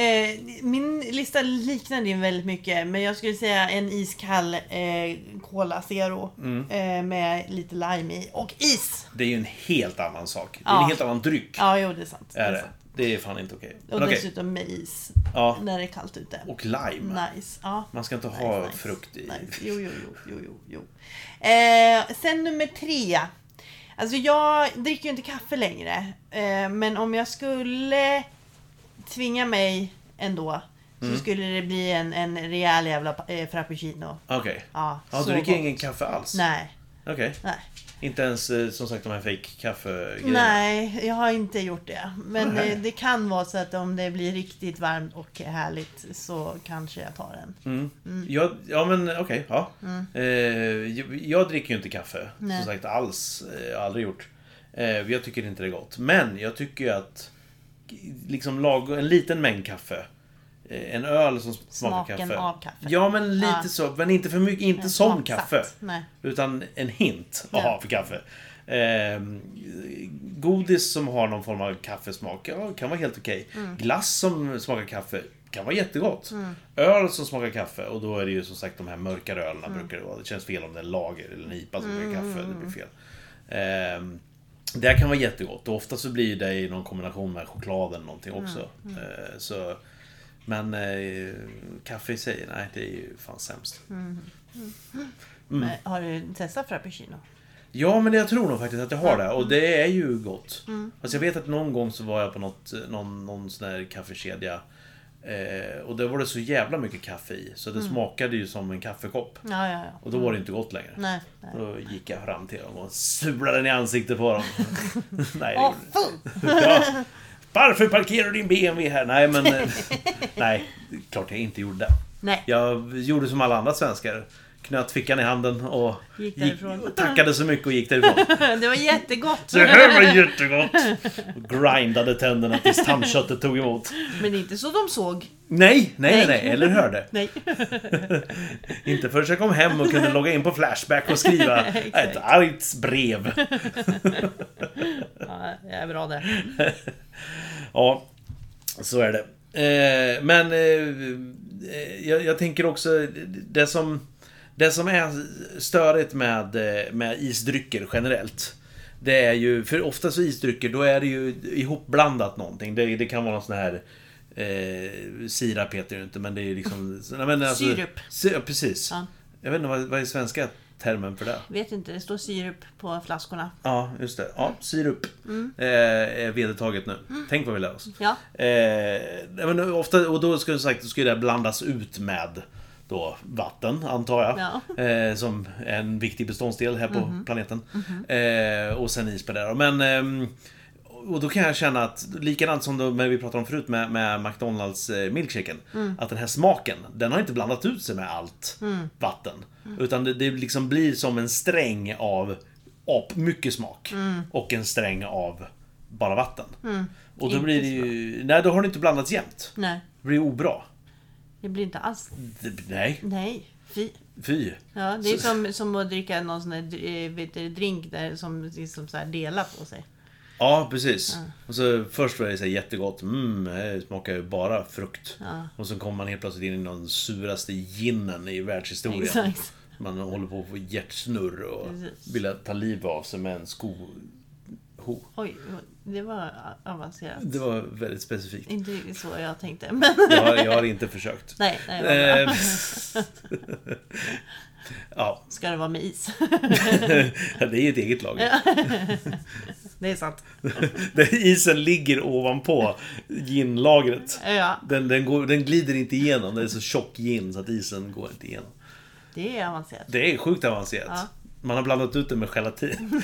[SPEAKER 2] Eh, min lista liknar din väldigt mycket, men jag skulle säga en iskall eh, Cola Zero
[SPEAKER 1] Mm.
[SPEAKER 2] eh, med lite lime i. Och is!
[SPEAKER 1] Det är ju en helt annan sak. Det är
[SPEAKER 2] Ja.
[SPEAKER 1] en helt annan dryck.
[SPEAKER 2] Ja, jo, det är sant.
[SPEAKER 1] Är
[SPEAKER 2] det är
[SPEAKER 1] det.
[SPEAKER 2] sant.
[SPEAKER 1] det är fan inte okej.
[SPEAKER 2] Och
[SPEAKER 1] Men okej.
[SPEAKER 2] dessutom med is
[SPEAKER 1] Ja.
[SPEAKER 2] när det är kallt ute.
[SPEAKER 1] Och lime.
[SPEAKER 2] Nice. Ja.
[SPEAKER 1] Man ska inte ha
[SPEAKER 2] nice,
[SPEAKER 1] frukt i.
[SPEAKER 2] Nice. Jo, jo, jo. jo, jo, jo. Eh, sen nummer tre. Alltså jag dricker ju inte kaffe längre. Eh, men om jag skulle tvinga mig ändå. Så
[SPEAKER 1] Mm.
[SPEAKER 2] skulle det bli en, en rejäl jävla eh, frappuccino.
[SPEAKER 1] Okej.
[SPEAKER 2] Ja,
[SPEAKER 1] Ja,
[SPEAKER 2] så
[SPEAKER 1] du dricker
[SPEAKER 2] gott.
[SPEAKER 1] ingen kaffe alls?
[SPEAKER 2] Nej,
[SPEAKER 1] Okej.
[SPEAKER 2] nej.
[SPEAKER 1] Inte ens eh, som sagt de här fake-kaffegrejerna?
[SPEAKER 2] Nej, jag har inte gjort det. Men eh,
[SPEAKER 1] Nej.
[SPEAKER 2] det, det kan vara så att om det blir riktigt varmt och härligt så kanske jag tar en.
[SPEAKER 1] Mm. Jag, ja men okej, ja. Eh, jag, jag dricker ju inte kaffe.
[SPEAKER 2] Mm. Nej.
[SPEAKER 1] Som sagt alls. Eh, jag har aldrig gjort. Eh, jag tycker inte det är gott. Men jag tycker ju att liksom lag, en liten mängd kaffe. eh, En öl som smakar
[SPEAKER 2] Smaken
[SPEAKER 1] kaffe.
[SPEAKER 2] av kaffe.
[SPEAKER 1] Ja men lite
[SPEAKER 2] Ja.
[SPEAKER 1] så. Men inte för mycket, inte som
[SPEAKER 2] Smaksatt.
[SPEAKER 1] kaffe.
[SPEAKER 2] Nej.
[SPEAKER 1] Utan en hint att
[SPEAKER 2] Ja.
[SPEAKER 1] ha för kaffe. Ehm, godis som har någon form av kaffesmak, ja, kan vara helt okej. Glass som smakar kaffe, kan vara jättegott. Öl som smakar kaffe, och då är det ju som sagt de här mörka ölen brukar det vara. Det känns fel om det är en lager eller en IPA som smakar kaffe, det blir fel. Ehm, det här kan vara jättegott och ofta så blir det i någon kombination med choklad eller någonting också. Eh, så, men eh, kaffe i sig, nej det är ju fan sämst. Mm.
[SPEAKER 2] Men Har du testat frappuccino?
[SPEAKER 1] Ja, men jag tror nog faktiskt att jag har det. Och det är ju gott.
[SPEAKER 2] Mm.
[SPEAKER 1] Alltså jag vet att någon gång så var jag på något, någon, någon sån här kaffekedja. Eh, och där var det så jävla mycket kaffe i. Så det
[SPEAKER 2] Mm.
[SPEAKER 1] smakade ju som en kaffekopp.
[SPEAKER 2] Ja, ja, ja.
[SPEAKER 1] Och då var det inte gott längre.
[SPEAKER 2] Mm. Nej. nej.
[SPEAKER 1] Då gick jag fram till dem och surlade den i ansiktet på dem. Nej, det gjorde
[SPEAKER 2] Åh,
[SPEAKER 1] jag
[SPEAKER 2] full!
[SPEAKER 1] ja. Varför parkerar du din BMW här? Nej, men... eh, Nej, det är klart jag inte gjorde.
[SPEAKER 2] Nej.
[SPEAKER 1] Jag gjorde som alla andra svenskar. Knöt fickan i handen och,
[SPEAKER 2] Gick därifrån.
[SPEAKER 1] och tackade så mycket och gick därifrån.
[SPEAKER 2] Det var jättegott.
[SPEAKER 1] Det här var jättegott! Och grindade tänderna tills tandköttet tog emot.
[SPEAKER 2] Men inte så de såg.
[SPEAKER 1] Nej, nej, nej,
[SPEAKER 2] Nej.
[SPEAKER 1] nej, eller hörde.
[SPEAKER 2] Nej.
[SPEAKER 1] Inte förrän jag kom hem och kunde logga in på Flashback och skriva
[SPEAKER 2] Exakt.
[SPEAKER 1] ett argt brev.
[SPEAKER 2] Ja, jag är bra där.
[SPEAKER 1] Ja, så är det. Eh, Men eh, jag, jag tänker också det som, det som är störigt med, eh, med isdrycker generellt. Det är ju, för ofta så isdrycker, då är det ju ihopblandat någonting. Det, det kan vara någon sån här eh, Sirap heter det ju inte, men det är ju liksom... nej, men alltså-
[SPEAKER 2] Sirup.
[SPEAKER 1] Si- ja, precis.
[SPEAKER 2] Ja.
[SPEAKER 1] Jag vet inte, vad, vad är svenska termen för det?
[SPEAKER 2] Vet inte, det står sirup på flaskorna.
[SPEAKER 1] Ja, just det. Ja, sirup.
[SPEAKER 2] Mm.
[SPEAKER 1] Eh, är vedertaget nu. Tänk vad vi lär oss.
[SPEAKER 2] Ja.
[SPEAKER 1] Eh, nej, men ofta, och då skulle, sagt, då skulle det blandas ut med då, vatten, antar jag. Eh, som är en viktig beståndsdel här på planeten. Eh, och sen is på det. då. Men, ehm, och då kan jag känna att, likadant som då, när vi pratade om förut med, med McDonalds eh, milkshaken. Att den här smaken, den har inte blandat ut sig med allt vatten. Utan det, det liksom blir som en sträng av ap, mycket smak. Och en sträng av bara vatten. Och då
[SPEAKER 2] Inte
[SPEAKER 1] blir det ju... Nej, då har det inte blandats jämnt.
[SPEAKER 2] Nej,
[SPEAKER 1] Det blir obra.
[SPEAKER 2] det blir inte alls...
[SPEAKER 1] Det- Nej,
[SPEAKER 2] Nej, fy.
[SPEAKER 1] fy.
[SPEAKER 2] Ja, det är som, som att dricka någon sån här eh, vet du, drink där som liksom så här delar på
[SPEAKER 1] Oh,
[SPEAKER 2] sig.
[SPEAKER 1] Ja, precis. Och så först var det så här jättegott. Mm, det smakar ju bara frukt.
[SPEAKER 2] Ja.
[SPEAKER 1] Och så kommer man helt plötsligt in i någon suraste ginen i världshistorien.
[SPEAKER 2] Exakt.
[SPEAKER 1] Man håller på att få hjärtsnurr och
[SPEAKER 2] Precis.
[SPEAKER 1] vill ta liv av sig med en sko... Ho.
[SPEAKER 2] Oj, det var avancerat.
[SPEAKER 1] Det var väldigt specifikt.
[SPEAKER 2] Inte riktigt så jag tänkte. Men...
[SPEAKER 1] Jag har, jag har inte försökt.
[SPEAKER 2] Nej, nej vad bra.
[SPEAKER 1] Eh, ja,
[SPEAKER 2] Ska det vara med is?
[SPEAKER 1] det är ju ett eget lag.
[SPEAKER 2] Det är sant.
[SPEAKER 1] Där isen ligger ovanpå ginlagret.
[SPEAKER 2] Ja,
[SPEAKER 1] Den, den, går, den glider inte igenom. Det är så tjock gin så att isen går inte igenom.
[SPEAKER 2] det är avancerat.
[SPEAKER 1] Det är sjukt avancerat.
[SPEAKER 2] Ja.
[SPEAKER 1] Man har blandat ut det med gelatin.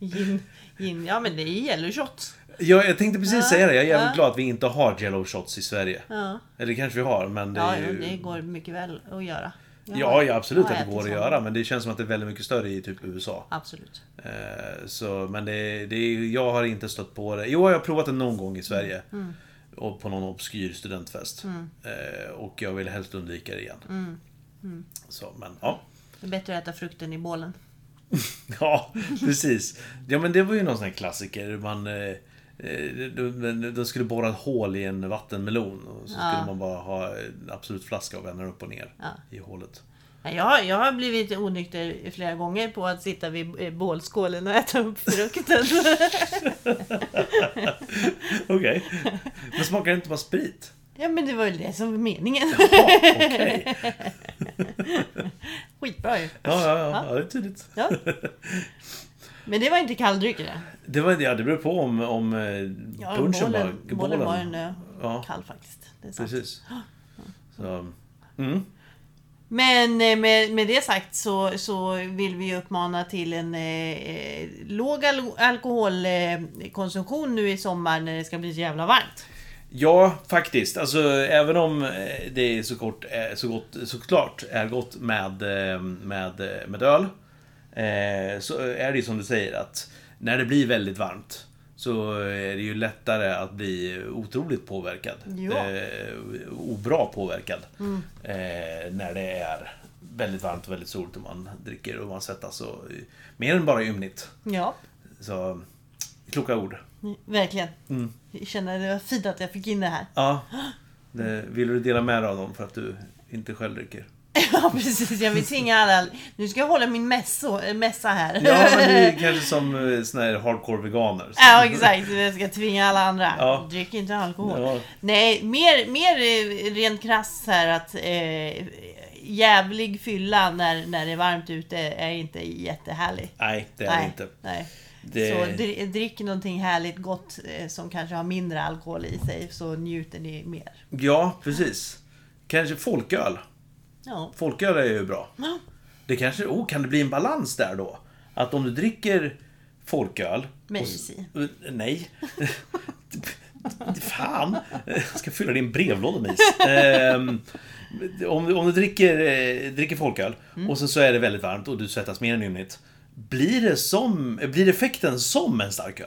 [SPEAKER 2] Gin, gin. Ja, men det är jello shot.
[SPEAKER 1] Jag, jag tänkte precis
[SPEAKER 2] Ja,
[SPEAKER 1] säga det. Jag är jävligt
[SPEAKER 2] ja.
[SPEAKER 1] glad att vi inte har jello shots i Sverige.
[SPEAKER 2] Ja,
[SPEAKER 1] Eller det kanske vi har, men det
[SPEAKER 2] ja
[SPEAKER 1] är
[SPEAKER 2] jo,
[SPEAKER 1] ju...
[SPEAKER 2] det går mycket väl att göra. Jag
[SPEAKER 1] Ja,
[SPEAKER 2] har-
[SPEAKER 1] ja, absolut
[SPEAKER 2] jag
[SPEAKER 1] att
[SPEAKER 2] har
[SPEAKER 1] det går att
[SPEAKER 2] ätit
[SPEAKER 1] göra,
[SPEAKER 2] sånt.
[SPEAKER 1] men det känns som att det är väldigt mycket större i typ USA.
[SPEAKER 2] Absolut.
[SPEAKER 1] Eh, Så, men det, det, är- jag har inte stött på det. Jo, jag har provat det någon gång i Sverige.
[SPEAKER 2] Mm.
[SPEAKER 1] Och på någon obskyr studentfest. Eh, Och jag vill helst undvika det igen.
[SPEAKER 2] Mm.
[SPEAKER 1] Så, men ja.
[SPEAKER 2] Det är bättre att äta frukten i bålen.
[SPEAKER 1] Ja, precis. Ja, men det var ju någon sån här klassiker. Man, eh, eh, de, de skulle borra ett hål i en vattenmelon. Och så skulle
[SPEAKER 2] Ja.
[SPEAKER 1] man bara ha en absolut flaska och vända upp och ner
[SPEAKER 2] Ja.
[SPEAKER 1] i hålet.
[SPEAKER 2] Nej, Jag, har- jag har blivit onykter flera gånger på att sitta vid eh, bålskålen och äta upp frukten.
[SPEAKER 1] Okej. Men smakar det inte bara sprit?
[SPEAKER 2] ja, men det var ju det som var meningen.
[SPEAKER 1] Ja, okej.
[SPEAKER 2] Skitbra ju.
[SPEAKER 1] Ja, ja, ja, ja, det är tydligt.
[SPEAKER 2] Ja. Men det var inte kalldryck i det.
[SPEAKER 1] Det, var, ja, det beror på om, om eh,
[SPEAKER 2] Ja,
[SPEAKER 1] punchen
[SPEAKER 2] bollen,
[SPEAKER 1] var...
[SPEAKER 2] bollen var en eh,
[SPEAKER 1] Ja,
[SPEAKER 2] kall faktiskt. Det är sant.
[SPEAKER 1] precis. Så, mm.
[SPEAKER 2] Men eh, med, med det sagt så, så vill vi uppmana till en eh, eh, låg al- alkoholkonsumtion nu i sommar när det ska bli så jävla varmt.
[SPEAKER 1] Ja, faktiskt. Alltså, även om eh, det är så, kort, eh, så gott, såklart är gott med, eh, med, eh, med öl. eh, Så är det ju som du säger att när det blir väldigt varmt så är det ju lättare att bli otroligt påverkad.
[SPEAKER 2] Ja.
[SPEAKER 1] Eh, Obra påverkad. Eh, När det är väldigt varmt och väldigt soligt och man dricker och man svettas. Och, eh, mer än bara ymnigt.
[SPEAKER 2] Ja,
[SPEAKER 1] Så, kloka ord.
[SPEAKER 2] verkligen.
[SPEAKER 1] Mm.
[SPEAKER 2] Jag känner det var fint att jag fick in det här.
[SPEAKER 1] Ja. Det, vill du dela med dig av dem för att du inte själv dricker?
[SPEAKER 2] Ja precis, jag vill tvinga alla. Nu ska jag hålla min mässo, eh, mässa här.
[SPEAKER 1] Ja, men det är kanske som eh, såna här hardcore veganer.
[SPEAKER 2] Ja, exakt, jag ska tvinga alla andra.
[SPEAKER 1] Ja.
[SPEAKER 2] Drick inte alkohol.
[SPEAKER 1] Ja.
[SPEAKER 2] Nej, mer, mer eh, rent krass här att eh, jävlig fylla när, när det är varmt ute är inte jättehärlig.
[SPEAKER 1] Nej, det är det
[SPEAKER 2] nej,
[SPEAKER 1] inte.
[SPEAKER 2] nej.
[SPEAKER 1] Det-
[SPEAKER 2] Så dri- drick någonting härligt gott eh, som kanske har mindre alkohol i sig så njuter ni mer.
[SPEAKER 1] Ja, precis. Kanske folköl.
[SPEAKER 2] Ja.
[SPEAKER 1] Folköl är ju bra.
[SPEAKER 2] Ja.
[SPEAKER 1] Det kanske, oh, kan det bli en balans där då? Att om du dricker folköl...
[SPEAKER 2] Med
[SPEAKER 1] och-
[SPEAKER 2] is i.
[SPEAKER 1] Eh, Nej. Fan! Jag ska fylla din brevlåda med is. Ehm, om, du- om du dricker, eh, dricker folköl
[SPEAKER 2] Mm.
[SPEAKER 1] och sen så är det väldigt varmt och du svettas mer än ymnigt. Blir, det som, blir effekten som en starköl?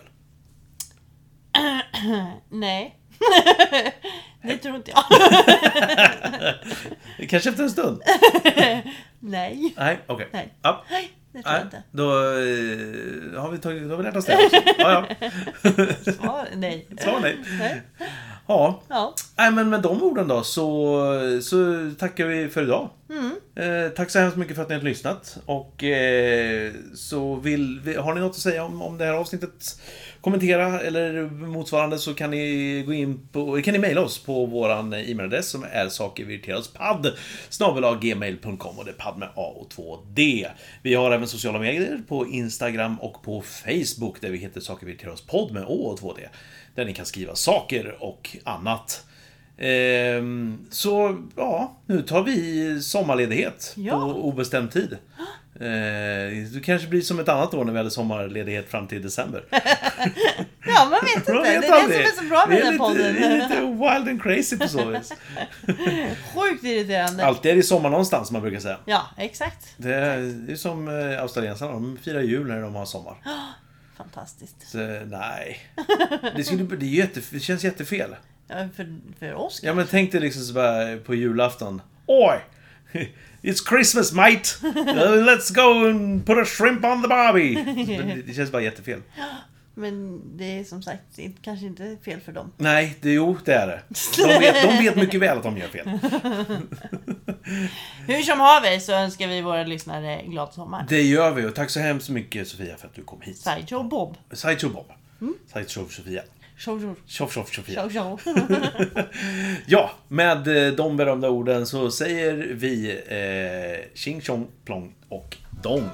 [SPEAKER 2] Nej. det tror inte jag.
[SPEAKER 1] Kanske efter en stund?
[SPEAKER 2] Nej.
[SPEAKER 1] Nej, okej.
[SPEAKER 2] Nej.
[SPEAKER 1] Ja.
[SPEAKER 2] Nej, det tror
[SPEAKER 1] Nej,
[SPEAKER 2] jag inte.
[SPEAKER 1] då eh, har vi, tagit, då har vi lärt oss det. Också. Ja, ja.
[SPEAKER 2] Svar nej.
[SPEAKER 1] Svar nej.
[SPEAKER 2] Nej.
[SPEAKER 1] Ja.
[SPEAKER 2] Ja.
[SPEAKER 1] Nej, men med de orden då så, så tackar vi för idag. Eh, tack så hemskt mycket för att ni har lyssnat. Och eh, så vill vi, har ni något att säga om, om det här avsnittet? Kommentera eller motsvarande så kan ni gå in på, kan ni mejla oss på våran e-mailadress som är sakervirriteras.padd snabelagmail.com och det är padd med A och 2 D. Vi har även sociala medier på Instagram och på Facebook där vi heter sakervirriteras.podd med Å och 2 D. Där ni kan skriva saker och annat. Ehm, så ja, nu tar vi sommarledighet
[SPEAKER 2] Ja.
[SPEAKER 1] på obestämd tid. Ehm, det kanske blir som ett annat år när vi hade sommarledighet fram till december.
[SPEAKER 2] ja, man vet inte.
[SPEAKER 1] Man vet
[SPEAKER 2] det är
[SPEAKER 1] aldrig.
[SPEAKER 2] det som är så bra med
[SPEAKER 1] Vi är
[SPEAKER 2] den här
[SPEAKER 1] lite,
[SPEAKER 2] podden.
[SPEAKER 1] Vi är lite wild and crazy på så vis.
[SPEAKER 2] Sjukt irriterande.
[SPEAKER 1] Alltid är det sommar någonstans som man brukar säga.
[SPEAKER 2] Ja, exakt.
[SPEAKER 1] Det är, det är som eh, australiensarna, de firar jul när de har sommar.
[SPEAKER 2] Fantastiskt.
[SPEAKER 1] Så, eh, nej. Det, skulle, det, är jätte, det känns jättefel.
[SPEAKER 2] Ja, för, för oss
[SPEAKER 1] Ja men tänk dig liksom så bara på julafton. Oj! It's Christmas mate! Uh, Let's go and put a shrimp on the barbie! Men Det känns bara jättefel.
[SPEAKER 2] Men det är som sagt inte- kanske inte fel för dem.
[SPEAKER 1] Nej, det, jo det är det. De vet, de vet mycket väl att de gör fel.
[SPEAKER 2] Hur som haver så önskar vi våra lyssnare glad sommar.
[SPEAKER 1] Det gör vi och tack så hemskt mycket Sofia för att du kom hit.
[SPEAKER 2] Sideshow Bob.
[SPEAKER 1] Sideshow Bob. Sideshow Sofia.
[SPEAKER 2] Show, show,
[SPEAKER 1] Tjoff Mm. tjoff Sofia.
[SPEAKER 2] show, show.
[SPEAKER 1] Ja, med eh, de berömda orden så säger vi eh, tjing tjong plong och dong.